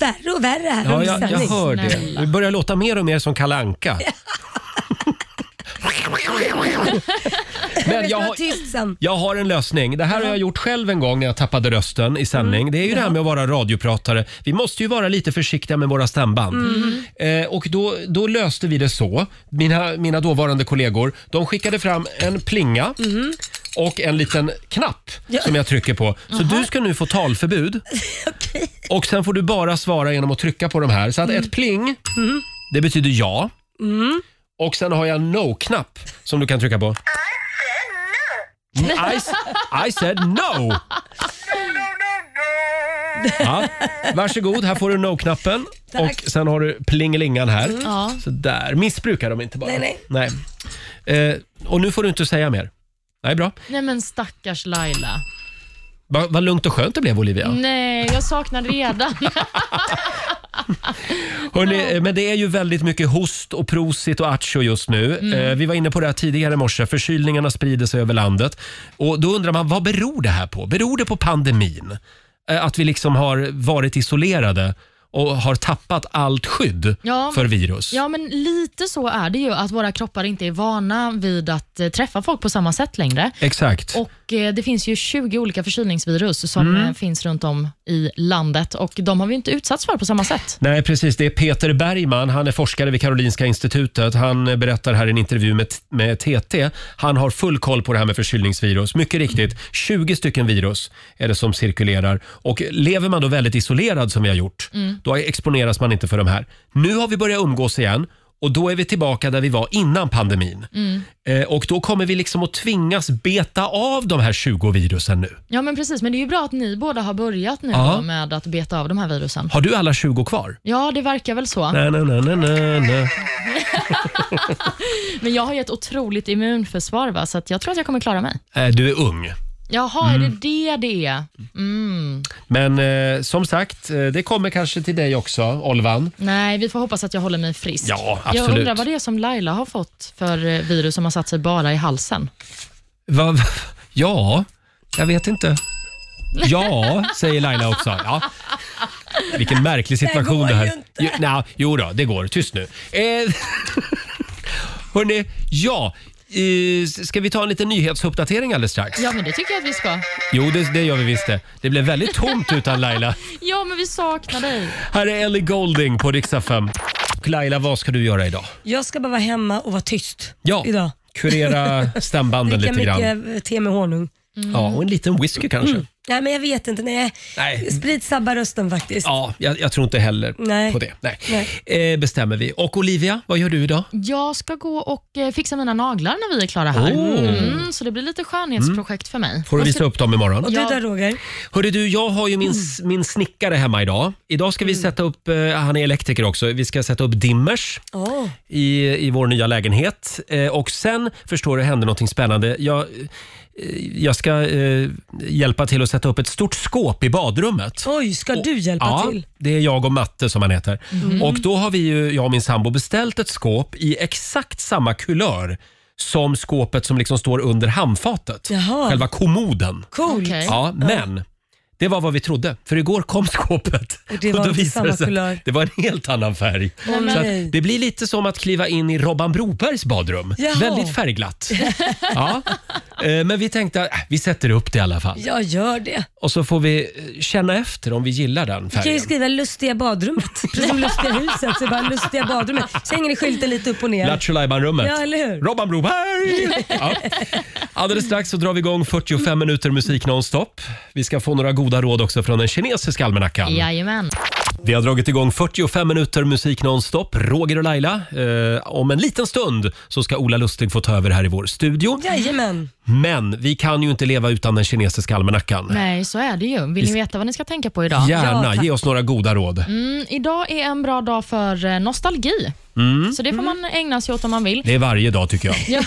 B: värre och värre här
A: Ja,
B: under
A: jag, jag
B: sändning.
A: hör det.
C: Snälla.
A: Du börjar låta mer och mer som kalanka. Men
B: Jag
A: jag
B: ska
A: har,
B: vara tyst sen.
A: jag har en lösning. Det här har jag gjort själv en gång när jag tappade rösten i sändning. Det är ju det här med att vara radiopratare. Vi måste ju vara lite försiktiga med våra stämband. Eh, och då, då löste vi det så. Mina, mina dåvarande kollegor, de skickade fram en plinga och en liten knapp som jag trycker på. Så du ska nu få talförbud.
B: Okej.
A: Och sen får du bara svara genom att trycka på de här. Så att ett pling, det betyder ja. Och sen har jag en no-knapp som du kan trycka på. I said no. I, s- I said no. Ja, varsågod, här får du no-knappen. Och sen har du plingelingan här.
C: Ja.
A: Så där. Missbruka dem inte bara.
B: Nej,
A: nej. Eh, och nu får du inte säga mer. Nej, bra.
C: Nej men stackars Laila.
A: Va- Vad lugnt och skönt det blev Olivia.
C: Nej, jag saknar redan. [LAUGHS]
A: Hörrni, eh, men det är ju väldigt mycket host och prosit och attjo just nu.
C: Mm.
A: Eh, Vi var inne på det här tidigare i morse. Förkylningarna sprider sig över landet. Och Då undrar man, vad beror det här på? Beror det på pandemin? Eh, Att vi liksom har varit isolerade och har tappat allt skydd
C: Ja.
A: för virus?
C: Ja, men lite så är det ju att våra kroppar inte är vana vid att eh, träffa folk på samma sätt längre.
A: Exakt.
C: Och eh, Det finns ju 20 olika förkylningsvirus som
A: Mm.
C: eh, finns runt om i landet och de har vi inte utsatts för på samma sätt.
A: Nej, precis. Det är Peter Bergman. Han är forskare vid Karolinska institutet. Han eh, berättar här i en intervju med, med TT. Han har full koll på det här med förkylningsvirus. Mycket riktigt, 20 stycken virus är det som cirkulerar. Och lever man då väldigt isolerad som vi har gjort, då exponeras man inte för de här. Nu har vi börjat umgås igen. Och Då är vi tillbaka där vi var innan pandemin. Eh, och Då kommer vi liksom att tvingas beta av de här 20 virusen nu.
C: Ja, men precis. Men det är ju bra att ni båda har börjat nu
A: Ja.
C: då med att beta av de här virusen.
A: Har du alla 20 kvar?
C: Ja, det verkar väl så.
A: Nej, nej, nej, nej, nej, nej.
C: Men jag har ju ett otroligt immunförsvar, va? så att jag tror att jag kommer klara mig.
A: Eh, Du är ung.
C: Jaha, är det det det är? Mm.
A: Men eh, som sagt, eh, det kommer kanske till dig också, Olvan.
C: Nej, vi får hoppas att jag håller mig frisk.
A: Ja,
C: Jag
A: absolut.
C: undrar vad det är som Laila har fått för eh, virus som har satt sig bara i halsen.
A: Va, va, ja, jag vet inte. Ja, säger Laila också. Ja. Vilken märklig situation det,
B: går
A: här.
B: ju inte.
A: Jo, [LAUGHS] nej, jo då, det går. Tyst nu. Eh, hörni, ja. eh, ska vi ta en liten nyhetsuppdatering alldeles strax?
C: Ja, men det tycker jag att vi ska.
A: Jo, det, det gör vi visst det. Det blev väldigt tomt utan Laila.
C: Ja, men vi saknar dig.
A: Här är Ellie Golding på riksdag 5. Laila, vad ska du göra idag?
B: Jag ska bara vara hemma och vara tyst
A: Ja,
B: idag.
A: kurera stämbanden
B: Dricka
A: lite grann.
B: mycket eh, te med honung.
A: Ja, och en liten whisky kanske.
B: Nej, men jag vet inte. Nej.
A: Nej.
B: Sprit sabbar rösten faktiskt.
A: Ja, jag, jag tror inte heller
B: Nej.
A: på det. Nej. Eh, bestämmer vi. Och Olivia, vad gör du idag?
C: Jag ska gå och eh, fixa mina naglar när vi är klara här.
A: Oh. Mm.
C: Mm, så det blir lite skönhetsprojekt för mig.
A: Får du
C: Jag
A: visa
C: ska-
A: upp dem imorgon?
B: Och du
C: Ja.
B: då Roger?
A: Hörru du, jag har ju min, s- min snickare hemma idag. Idag ska vi sätta upp, eh, han är elektriker också, vi ska sätta upp dimmers
B: Åh,
A: i, i vår nya lägenhet. Eh, och sen, förstår du, hände någonting spännande. Jag, eh, jag ska eh, hjälpa till att sätta upp ett stort skåp i badrummet.
B: Oj, ska du hjälpa
A: ja,
B: till? Mm.
A: det är jag och Matte som han heter. Och då har vi ju, jag och min sambo beställt ett skåp i exakt samma kulör som skåpet som liksom står under handfatet.
B: Jaha.
A: Själva kommoden.
B: Cool.
C: Okej.
A: Ja, men det var vad vi trodde. För igår kom skåpet.
B: Och det var
A: då
B: inte
A: visade det
B: samma
A: sig att
B: kulör.
A: Det var en helt annan färg.
B: Åh,
A: Så
B: nej.
A: att det blir lite som att kliva in i Robban Brobergs badrum.
B: Jaha.
A: Väldigt
B: [LAUGHS]
A: färgglatt. ja. Eh, Men vi tänkte att äh, vi sätter upp det i alla fall.
B: Jag gör det.
A: Och så får vi eh, känna efter om vi gillar den
B: Du kan ju
A: färgen.
B: skriva lustiga
C: [LAUGHS]
B: badrummet. Precis som lustiga huset, så är det bara lustiga badrummet. Så hänger det skylten lite upp och ner.
A: Lattjo Lajban-rummet.
B: Ja, eller hur?
A: Robban
B: [LAUGHS]
A: Broberg! Ja. Alldeles strax så drar vi igång 45 minuter musik nonstop. Vi ska få några goda råd också från den kinesiska almanackan.
C: Jajamän.
A: Vi har dragit igång 45 minuter musik nonstop. Roger och Laila. Eh, om en liten stund så ska Ola Lustig få ta över här i vår studio.
B: Jajamän.
A: Men vi kan ju inte leva utan den kinesiska almanackan.
C: Nej, så är det ju. Vill ni veta vad ni ska tänka på idag?
A: Gärna,
B: Ja, tack.
A: ge oss några goda råd.
C: Mm, idag är en bra dag för eh, nostalgi.
A: Mm.
C: Så det får man ägna sig åt om man vill.
A: Det är varje dag tycker
B: [LAUGHS]
A: jag.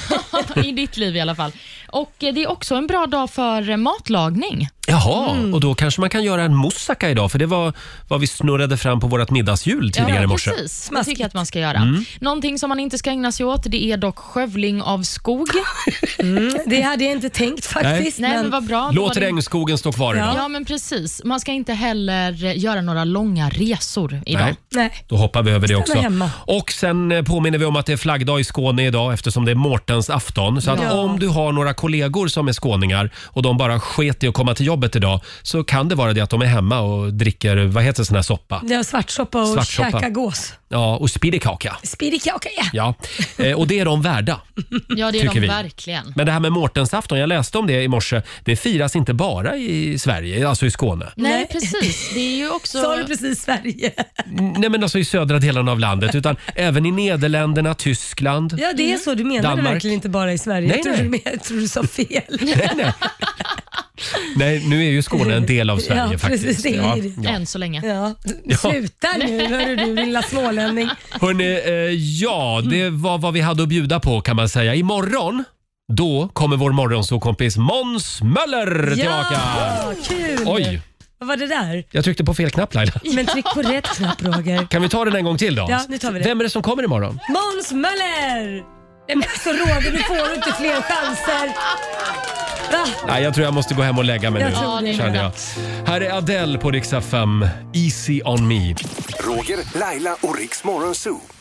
C: Ja, [LAUGHS] I ditt liv i alla fall. Och eh, Det är också en bra dag för eh, matlagning.
A: Jaha,
B: Mm.
A: och då kanske man kan göra en moussaka idag för det var vad vi snurrade fram på vårt middagshjul tidigare i morse. Mm.
C: precis. Det tycker jag att man ska göra. Någonting som man inte ska ägna sig åt det är dock skövling av skog.
B: Mm. Det hade jag inte tänkt faktiskt.
C: [LAUGHS] Nej, men
B: men
C: vad bra. Då var
A: Låt
C: det-
A: regnskogen stå kvar idag.
C: Ja, men precis. Man ska inte heller eh, göra några långa resor idag.
A: Nej.
B: nej.
A: Då hoppar vi över det också.
B: hemma.
A: Och sen eh, påminner vi om att det är flaggdag i Skåne idag eftersom det är Mårtens afton. Så att
B: Ja.
A: om du har några kollegor som är skåningar och de bara sket i att komma till jobbet idag så kan det vara det att de är hemma och dricker, vad heter sån här soppa?
B: Det var svartsoppa och
A: Svartsoppa.
B: käka gås.
A: Ja, och spirikaka.
B: Spirikaka, ja.
A: Ja, eh, och det är de värda.
C: Ja, det är
A: Tycker
C: de
A: vi.
C: verkligen.
A: Men det här med Mårtensafton, jag läste om det i morse. Det firas inte bara i Sverige, alltså i Skåne.
C: Nej,
B: Nej.
C: precis. Det är
B: [LAUGHS]
C: ju också...
B: Sa du precis Sverige?
A: Nej men alltså i södra delen av landet, utan [LAUGHS] även i Nederländerna, Tyskland.
B: Ja,
C: Mm.
B: det är så. Du menar det
A: Danmark.
B: verkligen inte bara i Sverige.
A: Nej,
B: jag, tror
A: nej.
B: Du, men- jag tror du sa
C: [LAUGHS]
B: fel.
A: Nej, nej. nej, nu är ju Skåne en del av Sverige
B: Ja,
A: faktiskt.
B: precis, det är det.
A: ja.
C: Än så länge.
B: Ja.
A: Ja.
B: Sluta nu, hörru du lilla smålänning.
A: Hörrni, eh, ja,
B: Mm.
A: det var vad vi hade att bjuda på kan man säga. Imorgon, då kommer vår morgonsåkompis Måns Möller tillbaka.
B: Ja, kul!
A: Oj,
B: Vad var det där?
A: jag tryckte på fel knapp Laila.
B: Men tryck på rätt knapp Roger.
A: Kan vi ta den en gång till då?
B: Ja, nu tar vi det.
A: Vem är det som kommer imorgon?
B: Måns Möller! Nej, men alltså Roger, nu får du inte fler chanser. Va?
A: Nej, jag tror jag måste gå hem och lägga mig
B: Jag
A: nu.
B: tror det.
A: Känner jag. Här är Adele på Riksa 5, Easy on me.
H: Roger, Laila och Riks Morgonzoo.